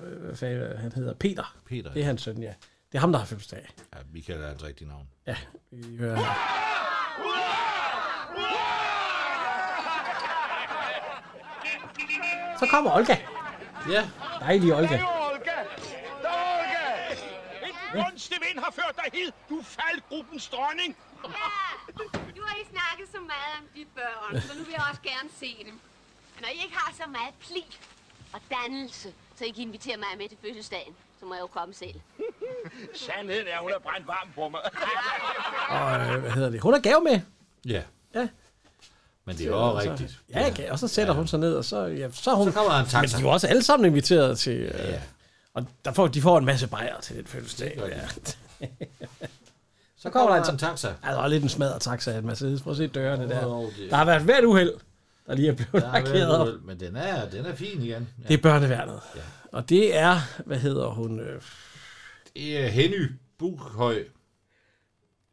Øh, Hvad fanden, han hedder Peter. Peter, Det er ja. hans søn, ja. Det er ham, der har fødselsdag. Ja, Michael er hans rigtige navn. Ja, vi hører her. Så kommer Olga. Ja. Dejlig Olga. Olga! Der er Olga! En gunstig vind har ført dig hid. Du faldt gruppens dronning. Nu har I snakket så meget om de børn, så nu vil jeg også gerne se dem. Men Når I ikke har så meget pli og dannelse, så I kan invitere mig med til fødselsdagen, så må jeg jo komme selv. Sandheden er, hun har brændt varm på mig. Og øh, hvad hedder det? Hun har gave med. Ja. Ja. Men det er jo Så- rigtigt. Ja, okay. og så sætter ja. hun sig ned, og så, ja, så er hun... Så kommer der en taxa. Men de er jo også alle sammen inviteret til... Øh, ja. Og der får, de får en masse bajere til den fødselsdag. Det gør de. Ja. Så kommer der en taxa. Ja, der er lidt en smadret taxa af en Mercedes. Prøv at se dørene der. Åh, det- Der har været hvert uheld, der lige er blevet Der er parkeret op. været, men den er, den er fin igen. Ja. Det er børneværnet. Ja. Og det er, hvad hedder hun? Øh, Det er Henny Bukhøj. det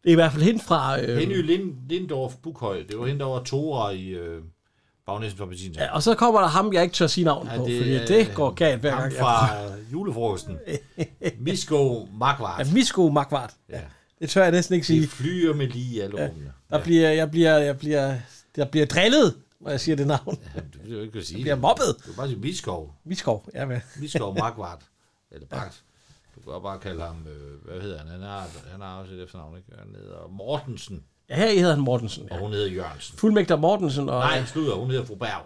er i hvert fald hende fra... Øh, Henny Lind, Lindorf Bukhøj. Det var hende, der var Tora i øh, Bagnæsen fra Bettina. ja, og så kommer der ham, jeg ikke tør sige navn ja, Ja, på, det fordi er det øh, går galt hver Ham gang. fra julefrokosten. Misko Magvart. Ja, Misko Magvart. Ja. Det tør jeg næsten ikke sige. Det flyer med lige i alle ja. rummene. Der bliver, jeg bliver, jeg bliver, jeg bliver drillet, når jeg siger det navn. Det vil jeg jo ikke at sige. bliver mobbet. Du kan bare sige Miskov. Miskov, ja med. Miskov Magvart. Eller Bagt. Du kan også bare kalde ham, øh, hvad hedder han? Han har, han har også et efternavn, ikke? Han hedder Mortensen. Ja, her i hedder han Mortensen. Og hun hedder Jørgensen. Fuldmægter Mortensen og Nej, slutter. Hun hedder fru Berg.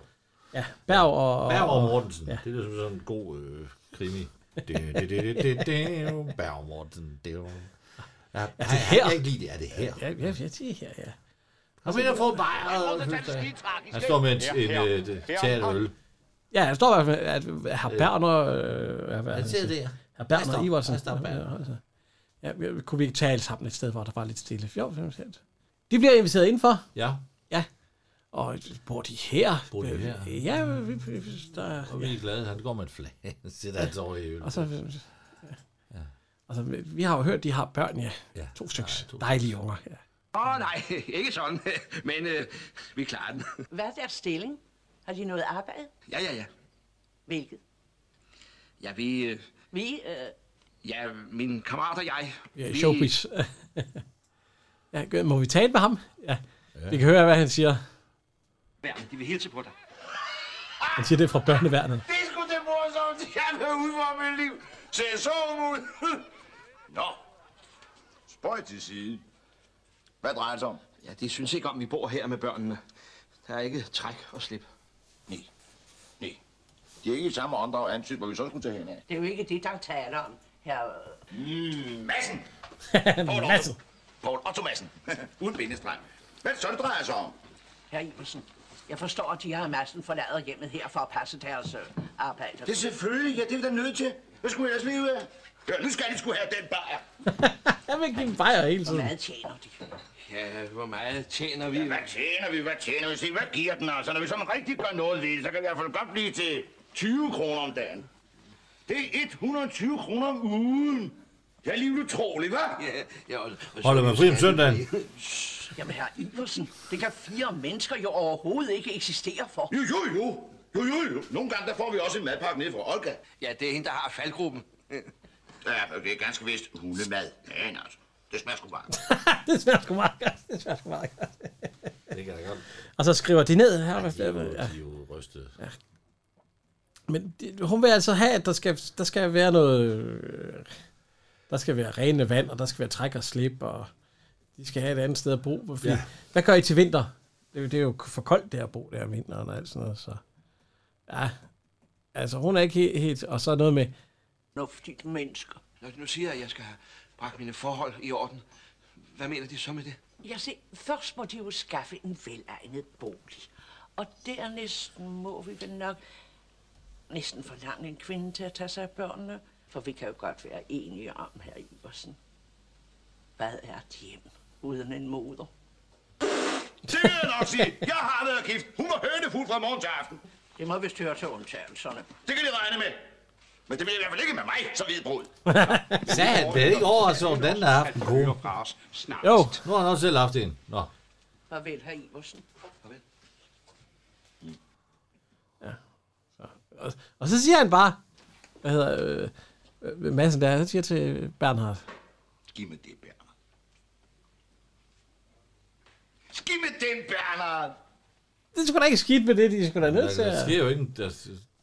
ja, Berg og... Berg og Mortensen. Ja. Det er som sådan en god øh, krimi. Det, det, det, det, det, det, Berg og Mortensen. Det er jo... Ja, er det her? Jeg kan ikke lide det. Er det her? Ja, ja, ja, det er her, ja. Han vil få en bajer. Han står med en, en, øh, en, en teaterøl. Ja, der står i hvert fald, at herr Berner... Øh, hvad, Han sidder der. Herr Han Berner står- Iversen. han står Berner. Ja, altså. Ja, vi- kunne vi ikke tale sammen et sted, hvor der var lidt stille? Jo, det er sandt. De bliver inviteret indenfor. Ja. Ja. Og bor de her? Øh, Bor de her? Ja, vi, vi, der, Og vi er glade. Han går med en flag. Han sidder altså over i øl. Og så, ja. Altså, vi- vi har jo hørt, de har børn, ja. Ja. To stykker. Dejlige unger. Ja. Åh, oh, nej, ikke sådan. Men øh, vi klarer den. Hvad er deres stilling? Har de noget arbejde? Ja, ja, ja. Hvilket? Ja, vi... Øh, Vi, øh, ja, min kammerat og jeg... Ja, vi- showbiz. ja, gør- må vi tale med ham? Ja. ja. Vi kan høre, hvad han siger. Bernd, de vil hilse på dig. Han siger, det er fra børneværnet. Det er sgu det morsomste, jeg har ud for mit liv. Se så ud. Nå, spøj til side. Hvad drejer det sig om? Ja, de synes ikke om, at vi bor her med børnene. Der er ikke træk og slip. Nej. Nej. De er ikke i samme åndedrag ansigt, hvor vi så skulle tage hen af. Det er jo ikke det, der taler om, her. Mm, Madsen! Poul Madsen! Poul Otto Madsen. Uden bindestreg. Hvad er det så, det drejer sig om? Herr Iversen, jeg forstår, at de her massen forlader hjemmet her for at passe deres øh, arbejde. Det er selvfølgelig, ja, det er vi da nødt til. Hvad skulle jeg ellers leve af? Ja, nu skal de skulle have den bajer. Jeg vil give dem bajer hele tiden. Hvor meget tjener de? Ja, hvor meget tjener vi? Ja, hvad tjener vi? Hvad tjener vi? Se, hvad giver den altså? Når vi sådan rigtig gør noget ved det, så kan vi i hvert fald godt blive til 20 kroner om dagen. Det er 120 kroner om ugen. Det er lige utroligt, hva'? Ja, ja, og, Holder man fri om søndagen? Jamen, herr Iversen, det kan fire mennesker jo overhovedet ikke eksistere for. Jo, jo, jo. Jo, jo, jo. Nogle gange, der får vi også en madpakke ned fra Olga. Ja, det er hende, der har faldgruppen. ja, det er ganske vist hundemad. Ja, altså. Det smager sgu varmt. det smager sgu meget godt. Det smager sgu meget godt. Det kan jeg godt. Og så skriver de ned her. De er jo, Ja. de er jo rystet. Ja. Men det, hun vil altså have, at der skal, der skal være noget... øh, Der skal være rene vand, og der skal være træk og slip, og de skal have et andet sted at bo. Fordi, ja. Ja. Hvad gør I til vinter? Det, er jo- det er jo for koldt der at bo der om vinteren og alt sådan noget. Så. Ja, altså hun er ikke helt, helt... Og så noget med... Fornuftigt mennesker. Når de nu siger, at jeg skal have bragt mine forhold i orden, hvad mener de så med det? Jeg se, først må de jo skaffe en velegnet bolig. Og dernæst må vi vel nok næsten forlange en kvinde til at tage sig af børnene. For vi kan jo godt være enige om, herr Iversen. Hvad er et hjem uden en moder? Det vil jeg nok sige. Jeg har været gift. Hun var hønefuld fra morgen til aften. Det må vist høre til undtagelserne. Det kan de regne med. Men det bliver i hvert fald ikke med mig, så vidt brud. Sagde han, det er ikke overrasket over, hvordan der har haft en kone. Jo, nu har han også selv haft en. Nå, Farvel, herr Iversen. Farvel. Og, og så siger han bare... Hvad hedder... Øh, øh, Madsen der, han siger til Bernhard... Giv mig det, Bernhard. Giv mig den, Bernhard. Det er sgu da ikke skidt med det, de er sgu da der, nødt til der at... sker jo ikke... en- Der,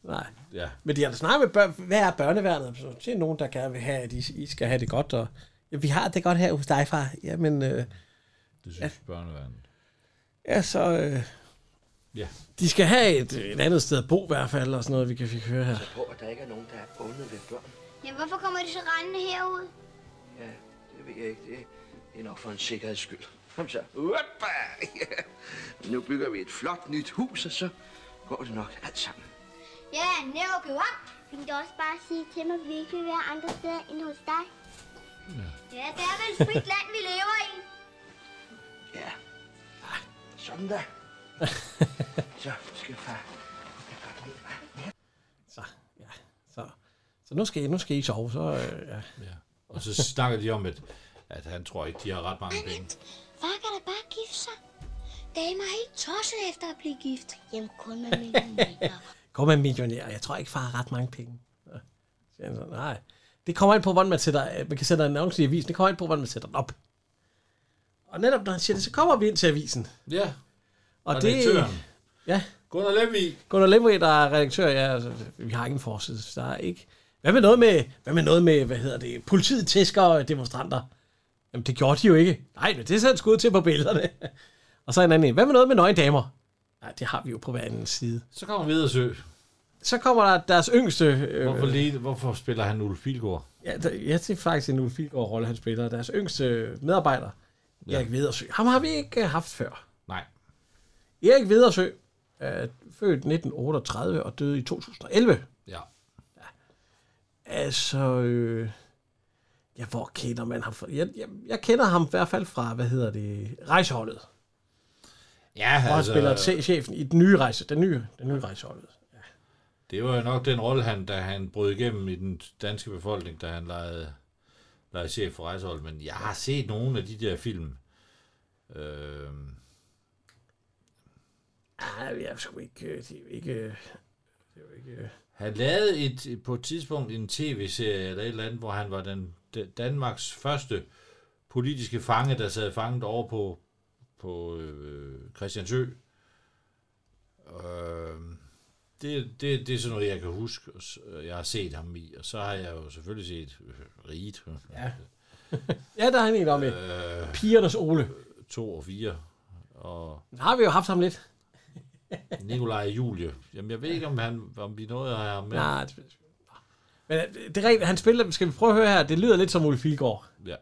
Nej. ja. Men de har da snakket med børn. Hvad er børneværnet? Så til nogen, der gerne vil have, at I, I skal have det godt. Og, ja, vi har det godt her hos dig, far. Jamen, øh, Det synes børneværnet. ja, så... Øh, Ja. de skal have et, et andet sted at bo i hvert fald, og sådan noget, vi kan fik høre her. På, at der ikke er nogen, der er bundet ved børn. Ja, hvorfor kommer de så rendende herud? Ja, det ved jeg ikke. Det, det er nok for en sikkerheds skyld. Kom så. Uoppa! Ja. Nu bygger vi et flot nyt hus, og så går det nok alt sammen. Ja, never give up. Du kan da også bare sige til mig, at vi ikke vil være andre steder end hos dig. Ja, det er vel et frit land, vi lever i. Ja. Sådan der. så skal far. Så, så nu, skal I, nu skal I sove, så... Øh, ja. Og så snakker de om, at, at han tror ikke, de har ret mange penge. Far kan da bare gifte sig. Damer er helt tosset efter at blive gift. Jamen, kun med millioner. Kom med millionær. Jeg tror ikke, far har ret mange penge. Så siger han så, nej. Det kommer ind på, hvordan man sætter... øh, Man kan sætte en annonce i avisen. Det kommer ind på, hvordan man sætter den op. Og netop når han siger det, så kommer vi ind til avisen. Ja. Og, og det... Redaktøren. Ja. Gunnar Lemvig. Gunnar Lemvig, der er redaktør. Ja, altså, vi har ikke en forside, så der er ikke... Hvad med noget med, hvad med, noget med hvad hedder det, politiet tæsker og demonstranter? Jamen, det gjorde de jo ikke. Nej, men det satte skud til på billederne. og så en anden en. Hvad med noget med nøgen damer? Nej, det har vi jo på hver anden side. Så kommer Vedersø. Så kommer der deres yngste... Øh, Hvorfor, lige, hvorfor spiller han Ulf Pilgaard? Ja, der, jeg ser faktisk en Ulf Pilgaard-rolle, han spiller. Deres yngste øh, medarbejder, ja. Erik Vedersø. Ham har vi ikke øh, haft før. Nej. Erik Vedersø er født 1938 og døde i 2011. Ja. Altså, øh, ja, hvor kender man ham fra? Jeg, jeg, jeg kender ham i hvert fald fra, hvad hedder det, rejseholdet. Ja, Hvor altså, han spiller chefen i den nye rejse, den nye, den nye rejseholdet. Det var jo nok den rolle, han, da han brød igennem i den danske befolkning, da han legede, legede chef for rejseholdet. Men jeg har set nogle af de der film. Øh, Nej, jeg er sgu ikke, øh, det er jo ikke, øh, det er jo ikke, øh, han lavede et, på et tidspunkt en tv-serie eller et eller andet, hvor han var den, den Danmarks første politiske fange, der sad fanget over på, på øh, Christiansø. Øh, det, det, det er sådan noget, jeg kan huske, og s- øh, jeg har set ham i. Og så har jeg jo selvfølgelig set øh, Riget. Ja. ja, der er han en om i. Øh, Pigernes Ole. 2 og 4. Og Men Har vi jo haft ham lidt. Nikolaj og Julie. Jamen, jeg ved ikke, om, han, om vi nåede at have ham med. Nej, det- Men øh, det er rigtigt, han spiller, skal vi prøve at høre her, det lyder lidt som Ulf Pilgaard. Ja.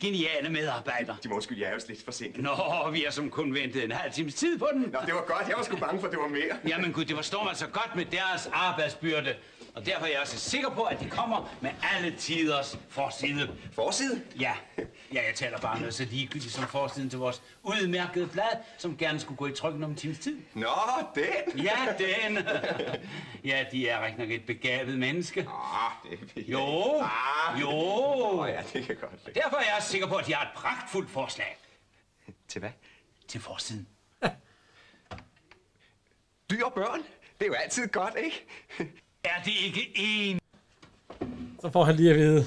Geniale medarbejdere. De må undskylde, jeg er jo lidt forsinket. Nå, vi har som kun ventet en halv times tid på den. Nå, det var godt. Jeg var sgu bange for, at det var mere. Jamen gud, det forstår man så godt med deres arbejdsbyrde. Og derfor er jeg også sikker på, at de kommer med alle tiders forside. Forside? Ja. ja, jeg taler bare om noget så ligegyldigt som forsiden til vores udmærkede blad, som gerne skulle gå i trykken om en times tid. Nå, den! Ja, den. ja, de er rigtig nok et begavet menneske. Ah, det Jo, jo. Åh Ah. ja, det kan godt være. Derfor er jeg også sikker på, at de har et pragtfuldt forslag. Til hvad? Til forsiden. Dyr og børn? Det er jo altid godt, ikke? er det ikke en? Så får han lige at vide.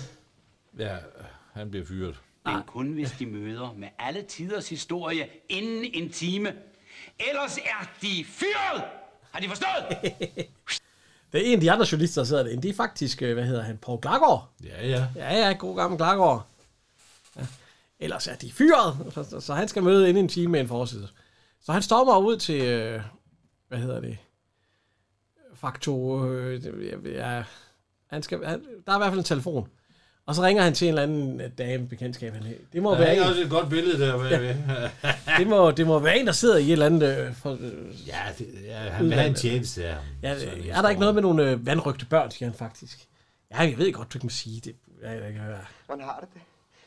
Ja, han bliver fyret. Men kun hvis de møder med alle tiders historie inden en time. Ellers er de fyret! Har de forstået? Det er en af de andre journalister, der sidder derinde. Det er faktisk, øh, hvad hedder han, Paul Glagård. Ja, ja. Ja, ja, god gammel Glagård. Ja. Ellers er de fyret, så, så, så han skal møde inden en time med en forside. Så han stormer ud til, øh, hvad hedder det, Fakto, øh, det- ja, ja, han skal, han, der er i hvert fald en telefon. Og så ringer han til en eller anden øh, dame bekendtskab. Han, det må Der være er en. også et godt billede der. Hvad, ja. det, må, det må være en, der sidder i et eller andet... Øh, for, øh, ja, det, ja, han vil have en tjeneste af ham. Ja, Sådan en er der ikke noget med nogle øh, vandrygte børn, siger han faktisk. Ja, jeg ved godt, du ikke må sige det. Ja, jeg kan høre. Hvordan har du det?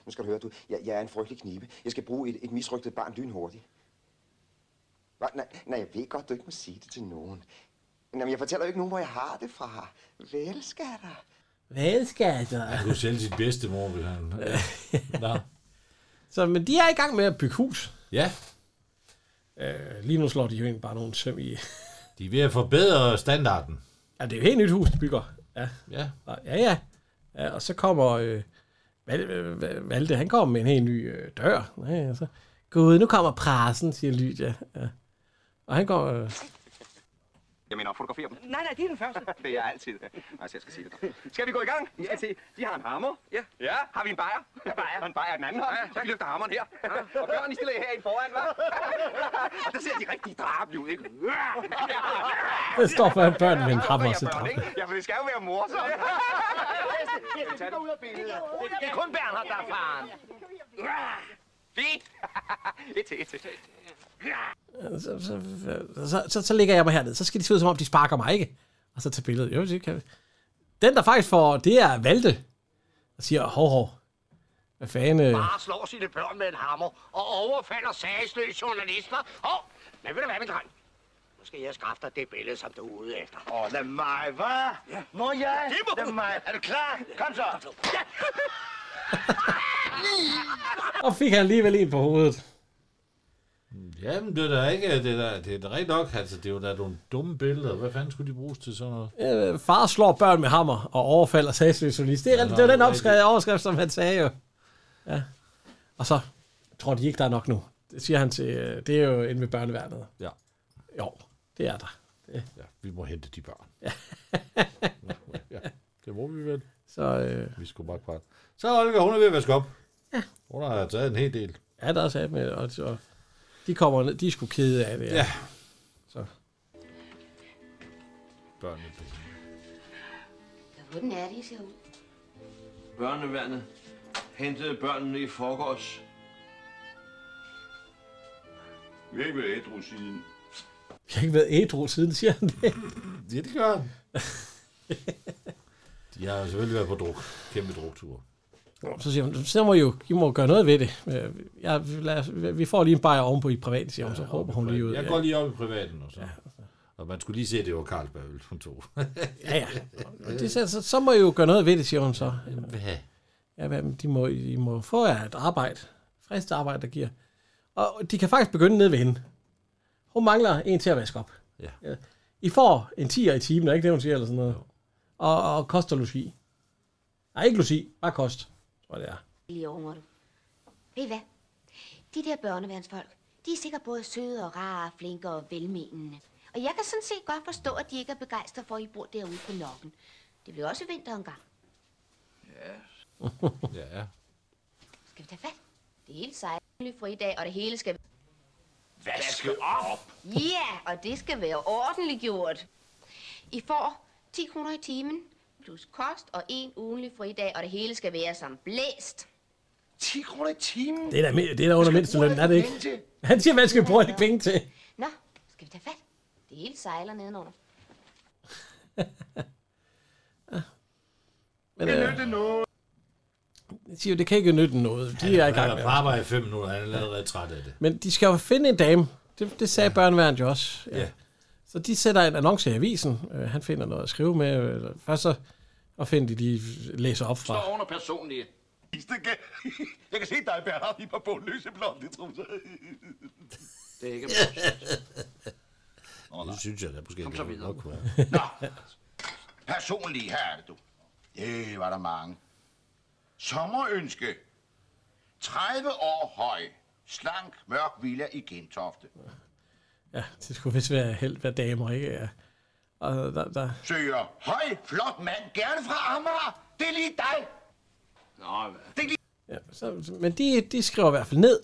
Nu skal du høre, du. Jeg, jeg er en frygtelig knibe. Jeg skal bruge et, et misrygtet barn lynhurtigt. Hva? Nej, nej, jeg ved godt, du ikke må sige det til nogen. Jamen, jeg fortæller jo ikke nogen, hvor jeg har det fra. Vel, skatter. Hvad skal der? Han kunne sælge sit bedste mor, vil han. Ja. Nå. Så, men de er i gang med at bygge hus. ja, Øh, lige nu slår de jo egentlig bare nogle søm i. de er ved at forbedre standarden. ja, det er jo helt nyt hus, de bygger. Ja, Ja. og, ja, ja. ja. Og så kommer øh, Val- øh, Val- Valde, han kommer med en helt ny øh, dør. Ja, ja, så. Gud, nu kommer pressen, siger Lydia. Ja. Og han går... Øh, Jeg mener, fotograferer dem. Nej, nej, det er den første. Det er jeg altid. Altså, jeg skal sige det dig. Skal vi gå i gang? Ja. Skal se. De har en hammer. Ja. Ja. Har vi en bajer? Ja, bajer. Og en bajer i den anden hånd. Ja, så vi løfter hammeren her. Ja. Og børn, I stiller jer herind foran, hva'? og der ser de rigtig drabelig ud, ikke? det står for, at børn med en hammer og så Børn, ikke? Ja, for det skal jo være morsomt. Det går ud af billedet. Det er kun Bernhard, der er faren. Fint. et til, et til. så, så, så, så, så, så ligger jeg mig herned. Så skal de se ud, som om de sparker mig, ikke? Og så tage billedet. Jo, det kan vi. Den, der faktisk får, det er Valde. Og siger, hov, hov. Hvad fanden? øh, Bare slår sine børn med en hammer og overfalder sagsløse journalister. Åh, men ved du hvad, min dreng? Nu skal jeg skaffe dig det billede, som du er ude efter. Åh, oh, lad mig, hva? Ja. Må jeg? Det må lad mig. Er du klar? Kom så. Ja. Og fik han alligevel en på hovedet. Jamen, det er da ikke, det er da, det er da rigtig nok, altså, det er jo da nogle dumme billeder. Hvad fanden skulle de bruges til sådan noget? Øh, far slår børn med hammer og overfalder sagsløs journalist. Det, er, det var den opskrevet overskrift, som han sagde jo. Ja. Og så tror de ikke, der er nok nu. Det siger han til, øh, det er jo inde ved børneværnet. Ja. Jo, det er der. Det. Ja, vi må hente de børn. Ja. ja, det må vi vel. Så, øh... Vi skulle bare kvart. Så er Olga, hun er ved at vaske op. Ja. Hun har taget en hel del. Ja, der er sat med, og, og de kommer ned, de er sgu kede af det. Ja. Så. Børnene. Hvordan er det, I ser ud? Børneværnet hentede børnene i forgårs. Vi har ikke været ædru siden. Jeg har ikke været ædru siden, siger han det. Ja, det gør han. De har jo selvfølgelig været på druk. Kæmpe druktur. Så siger hun, så må I jo, I må gøre noget ved det. Øh, Jeg, lad os, vi får lige en bajer ovenpå i privat, siger hun, så råber hun lige ud. Jeg går lige op i privaten og så. Ja. Og man skulle lige se, at det var Carlsberg, øl, hun tog. Ja, ja. Og det, siger, så, så må I jo gøre noget ved det, siger hun så. Hvad? Ja, hvad, men de må, I må få jer et arbejde. Frist arbejde, der giver. Og de kan faktisk begynde nede ved hende. Hun mangler en til at vaske op. Ja. I får en 10'er i timen, er ikke det, hun siger, eller sådan noget? Og, og koster logi. Nej, ikke logi, bare kost, tror jeg, det er. Lige over du. Ved I hvad? De der børneværnsfolk, de er sikkert både søde og rare, flinke og velmenende. Og jeg kan sådan set godt forstå, at de ikke er begejstrede for, at I bor derude på nokken. Det bliver også vinter engang. Ja. ja. Skal vi tage fat? Det hele sejt. Fri dag, og det hele skal... Vaske op! Ja, og det skal være ordentligt gjort. I får 10 kroner i timen, plus kost og en ugenlig fridag, og det hele skal være som blæst. 10 kroner i timen? Det er da, mi- det er da under mindstelønnen, er det ikke? Han siger, man skal bruge alle penge til. Nå, skal vi tage fat? Det hele sejler nedenunder. Men, øh, jeg siger, jo, det kan ikke nytte noget. De er i gang med med at arbejde i fem minutter, han er allerede træt af det. Men de skal jo finde en dame. Det, det sagde ja. børneværende jo også. Ja. Så de sætter en annonce i avisen. Øh, han finder noget at skrive med. Øh, Først så og finder de lige læser op fra. Står under personlige. Jeg kan se dig, Bernhard, i par på løse blonde trusser. Det er ikke Det synes jeg da måske Kom så ikke. videre. Nok, hva'? Nå, personlige, her er det du. Det var der mange. Sommerønske. 30 år høj. Slank, mørk villa i Gentofte. Ja, det skulle vist være held, hvad damer ikke er. Og der, der. Søger høj, flot mand, gerne fra Amager. Det er lige dig. Nå, det er lige... Ja, så, men de, de skriver i hvert fald ned.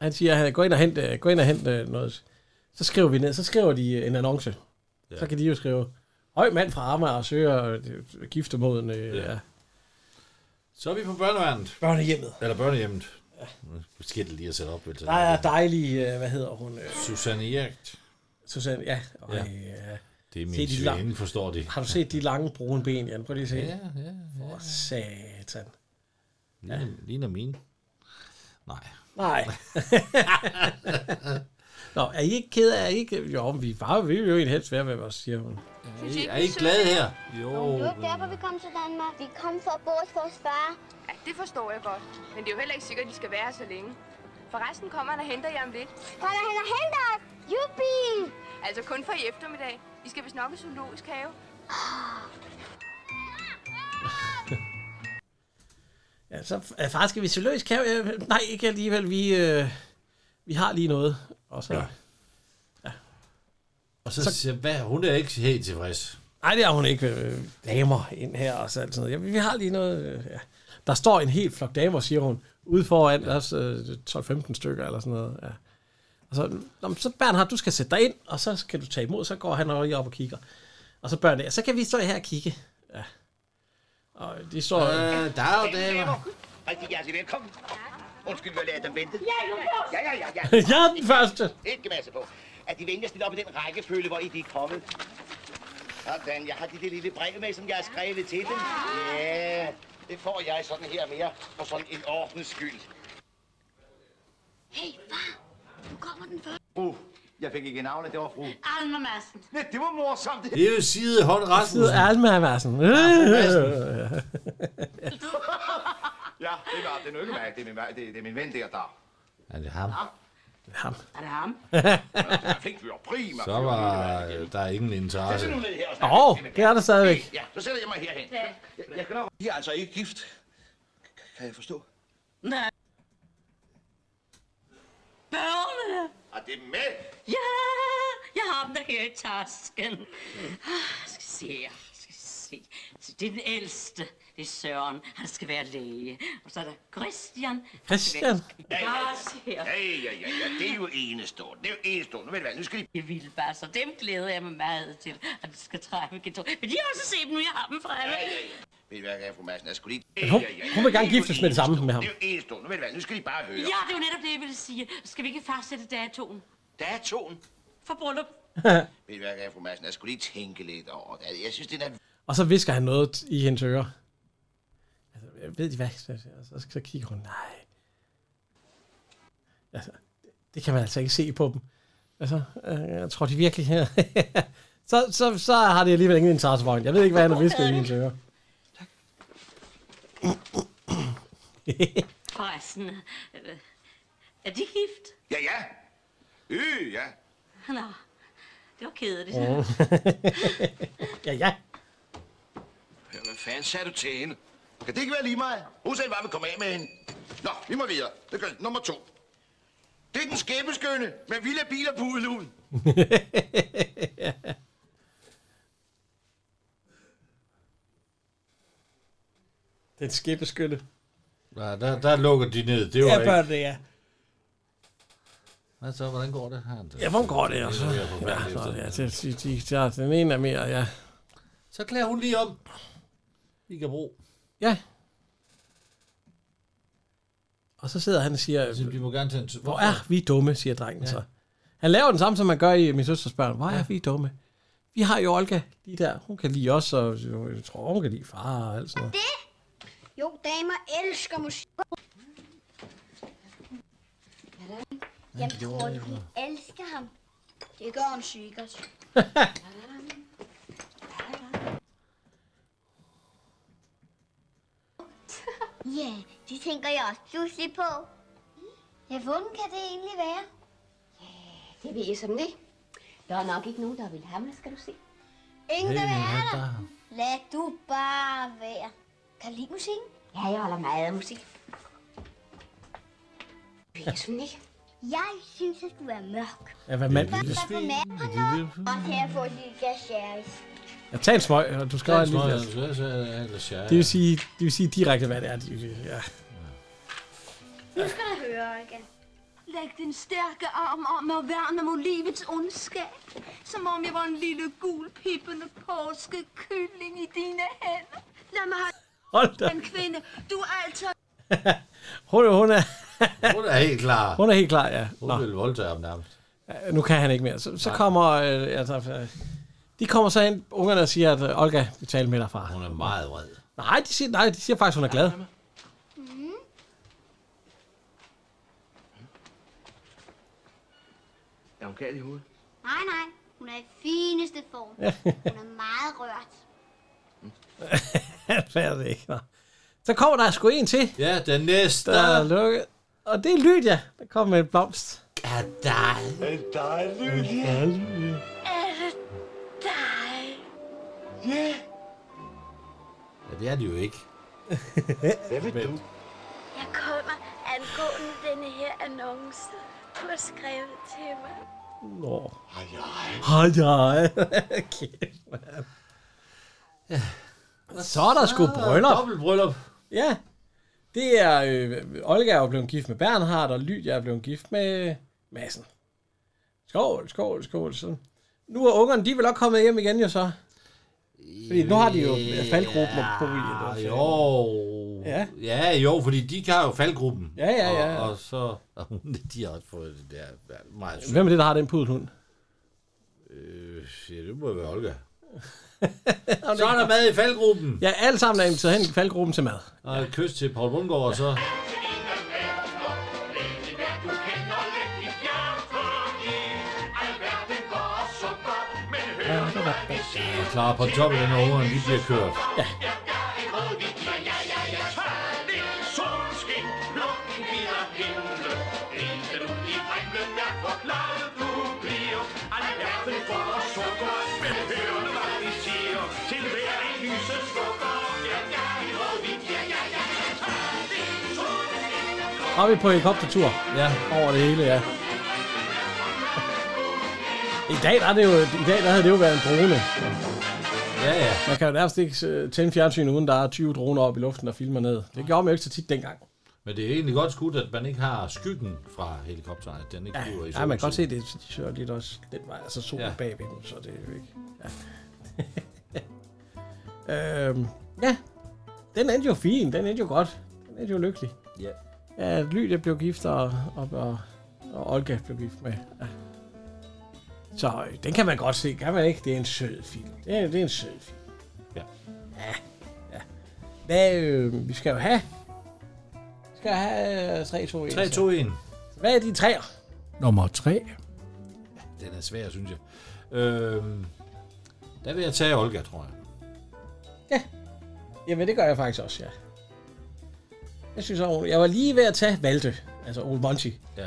Han siger, han går ind og hente, gå ind og hente noget. Så skriver vi ned, så skriver de øh, en annonce. Ja. Så kan de jo skrive, høj mand fra Amager og søger øh, giftemoden. Øh, ja. ja. Så er vi på børneværnet. Børnehjemmet. Eller børnehjemmet. Ja. Måske det lige at sætte op. Vel, så Der er dejlig, øh, hvad hedder hun? øh, Susanne Jagt. Susanne, ja. Øj, Ja. ja. Det er Se min de lang- svinde, forstår de. Har du set de lange brune ben, Jan? Prøv lige at se. Ja, ja, Åh, oh, satan. Ligner, ja. ligner mine. Nej. Nej. Nå, er I ikke ked af, er I ikke... Jo, men vi var vi vil jo egentlig helst være med os, siger hun. Synes I- I ikke, er I vi søger glade jer? her? Jo. Det var ikke derfor, vi kom til Danmark. Vi kom for at bo hos vores far. Ja, det forstår jeg godt. Men det er jo heller ikke sikkert, at de skal være her så længe. Forresten kommer han og henter jer om lidt. Kommer han og henter os? Jubi! Altså kun for i eftermiddag. I skal vist nok i zoologisk have. Ja, så øh, far, skal vi zoologisk kan øh, Nej, ikke alligevel. Vi, øh, vi har lige noget. Og så... Ja. Og så, så siger jeg, hvad, hun er ikke helt tilfreds. Nej, det er hun ikke. Øh, damer ind her og så alt sådan noget. Ja, vi har lige noget... Øh, ja. Der står en hel flok damer, siger hun, ude foran ja. os, øh, 12-15 stykker eller sådan noget. Ja. Og så, "Nå, men så Bernhard, du skal sætte dig ind, og så skal du tage imod, så går han lige op og kigger. Og så børnene, "Ja, så kan vi stå her og kigge. Ja. Og de står... Øh, der er jo damer. Rigtig hjertelig velkommen. Undskyld, jeg lader dem vente. Ja, ja, ja, ja. Jeg er den første. Ikke masse på. At de venligst stille op i den rækkefølge, hvor I de er kommet. Sådan, jeg har det, det lille brev med, som jeg har skrevet til dem. Ja, det får jeg sådan her mere, for sådan en ordens skyld. Hey, far! Nu kommer den Ah. første. Fru, jeg fik ikke navnet, det var fru. Alma Madsen. Ja, det var morsomt. Det er jo side hånd Rasmussen. Sidder Alma "Øh, Madsen. ja, det var, det er nu ikke mig, det er min, det er, det er min ven der, der. Er det ham? Ham. Er det ham? Flink fyr, prima. Så var øh, der er ingen interesse. Sæt dig nu ned her og snak. Åh, oh, det er der stadigvæk. Ja, så sætter jeg mig herhen. Jeg, jeg kan nok... De er altså ikke gift. Kan jeg forstå? Nej. Børnene! Er Ah, det med? Ja, jeg har dem der her i tasken. Ah, Skal se her, skal se. Så det er den ældste. Det er Søren. Han skal være læge. Og så er der Christian. Han skal være- Ja, Ja, se ja, her. ja, ja, ja, det er jo enestående. Det er jo enestående. Nu ved du hvad, nu skal I... Jeg ville bare, så dem glæder jeg mig meget til, at de skal træffe Gito. Men de har også set dem nu, jeg har dem fremme. Ja, ja, ja. Ved I hvad, jeg, fru Madsen, jeg skulle lige... Men hun- hun vil gerne giftes med det samme med ham. Det er jo enestående. Nu ved du hvad, nu skal I bare høre. Ja, det er jo netop det, jeg ville sige. Skal vi ikke fastsætte datoen? Datoen? For bryllup. Ved I hvad, fru Madsen, jeg skulle lige tænke lidt over det. Jeg synes, det er... Og så visker han noget i hendes ører. Altså, ved de hvad? Så, så, så kigger hun, nej. Altså, det kan man altså ikke se på dem. Altså, øh, jeg tror de virkelig her. så, så, så har det alligevel ingen interesse for hende. Jeg ved ikke, hvad han har visket i hendes ører. Forresten, øh, er de gift? Ja, ja. Øh, ja. Nå, det var kedeligt. Mm. ja, ja. Ja, Hvad fanden sagde du til hende? Kan det ikke være lige mig? Hun sagde bare, vi komme af med hende. Nå, vi må videre. Det gør nummer to. Det er den skæbeskønne med vilde biler på udluden. Den skæbeskytte. Nej, der, der lukker de ned. Det var Jeg ikke... bør det, ja. Hvad så, hvordan går det her? Ja, hvor går det også? Det er jo Ja, forfærdeligt så, efter. ja, det, de, de, de, den ene er mere, ja. Så klæder hun lige om. Vi kan bruge. Ja. Og så sidder han og siger, Så Altså, vi må gerne tage en tur. hvor er vi dumme, siger drengen ja. så. Han laver den samme, som man gør i min søsters børn. Hvor er ja. vi dumme? Vi har jo Olga lige der. Hun kan lide os, og jeg tror, hun kan lide far og alt sådan noget. Det? Jo, damer elsker musik. Jeg tror, at hun elsker ham. Det gør hun sikkert. Ja, det tænker jeg også pludselig på. Ja, hvordan kan det egentlig være? Det ved jeg som det. Der er nok ikke nogen, der vil have mig, skal du se. Ingen, der Ingen vil have er dig. der. Lad du bare være. Kan du lide musikken? Ja, jeg holder meget af musik. Det er sådan ikke. Jeg synes, at du er mørk. Ja, hvad mand? Og her får de glas sherry. Ja, tag en smøg, og du skal have en lille glas. altså, Det vil sige, det vil sige direkte, hvad det er. De, vil- ja. Nu skal du høre, Olga. Læg din stærke arm om mig og værn mod livets ondskab. Som om jeg var en lille gul pippende påskekylling i dine hænder. Lad mig Hold da. have en kvinde. Du er altså... Hun, er- hun, er, Hun er helt klar. hun er helt klar, ja. Hun Nå. vil voldtage ham nærmest. Ja, Nu kan han ikke mere. Så, så Nej. kommer... Øh, altså, øh, de kommer så ind, ungerne, og siger, at øh, Olga vil tale med dig, far. Hun er meget vred. Nej, de siger, nej, de siger faktisk, hun er glad. Mm. Er hun gal i hovedet? Nej, nej. Hun er i fineste form. Hun er meget rørt. Han fatter det ikke. Nå. Så kommer der sgu en til. Ja, den næste. Der er lukket. Og det er Lydia, der kommer med en blomst. Ja, Er det dig, Lydia? Er det dig? Ja. Ja, det er det jo ikke. Hvad vil du? Jeg kommer angående denne her annonce. Du har skrevet til mig. Nå. Hej, hej. Kæft, mand. Så er der sgu bryllup. Dobbelt bryllup. Ja. Det er, øh, Olga er jo blevet gift med Bernhard, og Lydia er blevet gift med Madsen. Skål, skål, skål. Så. Nu er ungerne, de er vel også kommet hjem igen jo så? Fordi nu har de jo faldgruppen og Ah, jo. Ja. ja, jo, fordi de kan jo faldgruppen. Ja, ja, ja. Og, og så... og hun- de har også fået det der ja, meget Hvem er det, der har den pudelhund? Øh, ja, det må være Olga. Så er der mad i faldgruppen. Ja, alle sammen er inviteret hen i faldgruppen til mad. Og et kys til Paul Bundgaard, og så... Og klar på toppen, når ungerne lige bliver kørt. Ja. Og vi er på helikoptertur. Ja. Over det hele, ja. I dag, der er det jo, i dag der havde det jo været en drone. Ja, ja. Man kan jo nærmest ikke øh, tænde fjernsyn, uden der er 20 droner oppe i luften og filmer ned. Det gjorde man jo ikke så tit dengang. Men det er egentlig godt skudt, at man ikke har skyggen fra helikopteren, at den ikke flyver i Ja, man kan godt solens se, det de søger lidt også den vej, altså solen ja. Ja. bagved dem, så det er jo ikke... Ja. øhm, ja, den endte jo fin, den endte jo godt, den endte jo lykkelig. Ja. Ja, Lydia blev gift, og, og, og, og Olga blev gift med. Ja. Så øh, den kan man godt se, kan man ikke? Det er en sød film. Det er, det er en sød film. Ja. Ja, ja. Hvad, øh, vi skal jo have... Vi skal have øh, 3, 2, 1. 3, 2, 1. Hvad er de træer? Nummer 3. Den er svær, synes jeg. Øhm, der vil jeg tage Olga, tror jeg. Jamen, det gør jeg faktisk også, ja. Jeg synes også, jeg var lige ved at tage Valde, altså Ole Monty. Ja.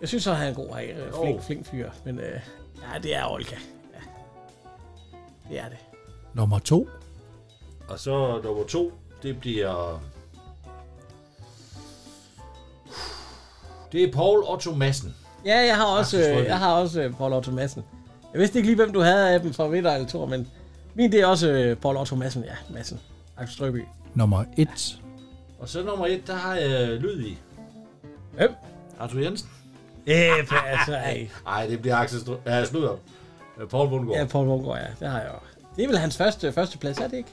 Jeg synes så, han er en god, øh, Jo. flink, flink fyr, men øh, ja, det er Olga. Ja. Det er det. Nummer 2. Og så nummer to, det bliver... Det er Paul Otto Madsen. Ja, jeg har også, Faktisk øh, frygtelig. jeg har også øh, Paul Otto Madsen. Jeg vidste ikke lige, hvem du havde af dem fra Vinter eller Tor, men min det er også øh, Paul Otto Madsen, ja, Madsen. Axel Strøby. Nummer 1. Og så nummer et, der har jeg lyd i. Hvem? Arthur Jensen. Ja, altså, ej. Ej, det bliver Axel Stru- ja, Sludder. Øh, Paul Bundgaard. Ja, Paul Bundgaard, ja. Det har jeg også. Det er vel hans første, første plads, er det ikke?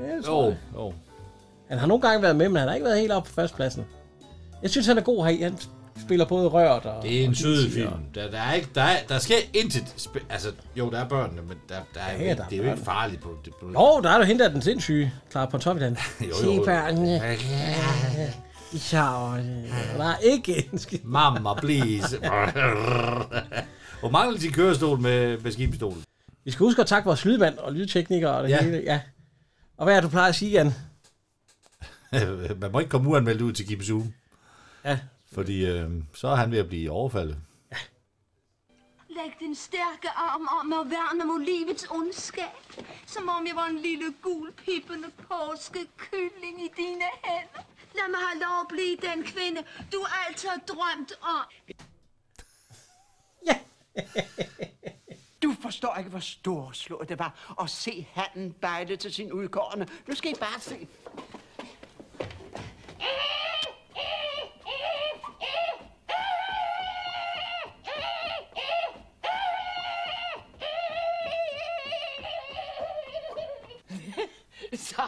Ja, det tror Jo, jeg. jo. Han har nogle gange været med, men han har ikke været helt oppe på førstepladsen. Jeg synes, han er god her. Han spiller både rørt og... Det er en og sød tiger. film. Der, der, er ikke, der, er, der sker intet... Sp- altså, jo, der er børnene, men der, der er, Ja, ja, der er der det er jo børn. ikke farligt på det. På, Jo, der er du hende af den sindssyge, Clara Pontoppidan. jo. Se børnene. Ja, I sjovene. Der er ikke en skid. Mamma, please. Hvor mangler de kørestol med, med skibstolen? Vi skal huske at takke vores lydmand og lydtekniker og det Ja. hele. Ja. Og hvad er det, du plejer at sige, Jan? Man må ikke komme uanmeldt ud til Kim Zoom. Ja. Fordi øh, så er han ved at blive overfaldet. Læg din stærke arm om mig og værn mod livets ondskab, som om jeg var en lille gul pippende påskekylling i dine hænder. Lad mig have lov at blive den kvinde, du altid har drømt om. Du forstår ikke, hvor storslået det var at se handen bejde til sin udkårende. Nu skal I bare se. Så,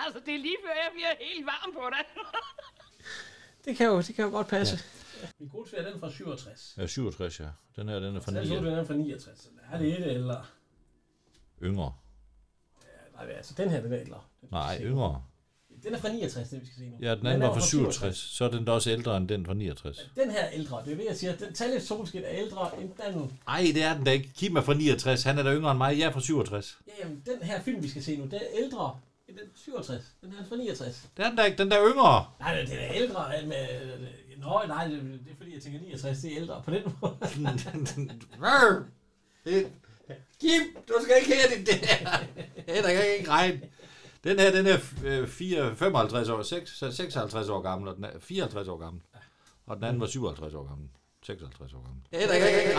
altså det er lige før, jeg bliver helt varm på dig. Det kan jo, det kan jo godt passe. Min gode er den fra 67. Ja, 67, ja. Den her, den er fra Jeg tror, 9. den er fra 69. Den Er det et eller? Yngre. Nej, altså den her, den er ældre. Nej, yngre. Den er fra 69, det vi skal se nu. Ja, den anden var fra 67. Så er den da også ældre end den fra 69. Den her er ældre, det er det, jeg siger. Den tallet solskin er ældre end den anden. Ej, det er den da ikke. Kim er fra 69. Han er da yngre end mig. Jeg er fra 67. Ja, jamen, den her film, vi skal se nu, den er ældre end den 67. Den her er fra 69. Det er den da ikke. Den der er yngre. Nej, men den er ældre end... Øh, nå, nej, det, det er fordi, jeg tænker 69, det er ældre på den måde. Kim, du skal ikke have det der. Ja, der kan ikke regne. Den her, den er øh, 4, 55 år, 6, så 56 år gammel, og den er 54 år gammel. Og den anden var 57 år gammel. 56 år gammel. Ja, der kan ikke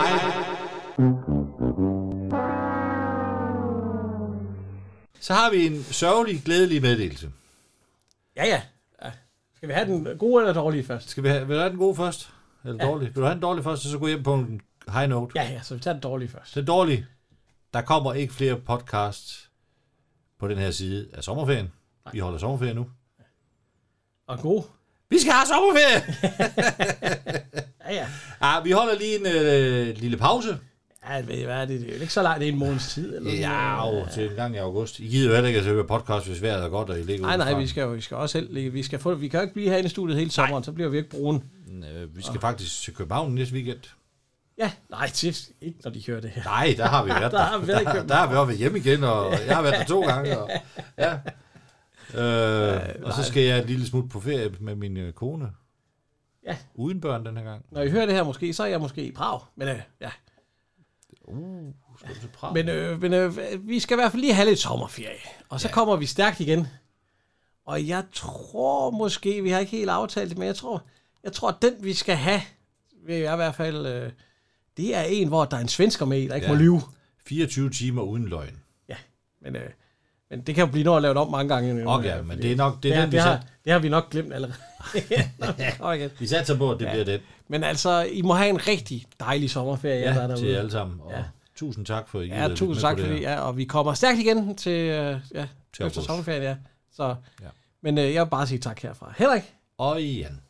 Så har vi en sørgelig, glædelig meddelelse. Ja, ja. ja. Skal vi have den gode eller dårlige først? Skal vi have, vil du have den gode først? Eller Ja. ja. dårlig? Vil du have den dårlige først, og så gå hjem på en high note? Ja, ja, så vi tager den dårlige først. Den dårlige. Der kommer ikke flere podcasts på den her side af sommerferien. Vi holder sommerferie nu. Og god. Vi skal have sommerferie! ja, ja. Ah, vi holder lige en øh, lille pause. Ja, ved I hvad, det er jo ikke så langt, det er en måneds tid. Eller Ja, noget. jo, til en gang i august. I gider jo heller ikke at høre podcast, hvis vejret er godt, og I ligger Nej, udenfor. nej, vi skal jo vi skal også selv ligge. Vi, skal få, vi kan jo ikke blive herinde i studiet hele sommeren, nej. så bliver vi ikke brune. Øh, Vi skal faktisk til København næste weekend. Ja, nej, det ikke, når de hører det her. Nej, der har vi været der. der har vi været i der, der, København. har vi også været hjemme igen, og jeg har været der to gange. Og, ja. øh, og så skal jeg et lille smut på ferie med min øh, kone. Ja. Uden børn den her gang. Når I hører det her måske, så er jeg måske i Prag. Men øh, ja. Uh, skal du til Prag? Men, øh, men øh, vi skal i hvert fald lige have lidt sommerferie. Og så ja. kommer vi stærkt igen. Og jeg tror måske, vi har ikke helt aftalt det, men jeg tror, jeg tror at den vi skal have, vil jeg i hvert fald, øh, det er en, hvor der er en svensker med, der ikke ja. må lyve. 24 timer uden løgn. Ja, men, øh, men det kan jo blive noget at lave det om mange gange. endnu, Okay, øh, men fordi det er nok- det er det, den, det, vi har, sat- det har vi nok glemt allerede. Kom igen. Vi satser på, at det bliver den. Men altså, I må have en rigtig dejlig sommerferie. jer, der er Ja, derude. til jer alle sammen. Og tusind tak for, at I gider Ja, lytte tusind med tak på for her. det. Ja, og vi kommer stærkt igen til, øh, ja, til efter august. sommerferien. Ja. Så, Ja. ja. Men øh, jeg vil bare sige tak herfra. Henrik. Og Jan.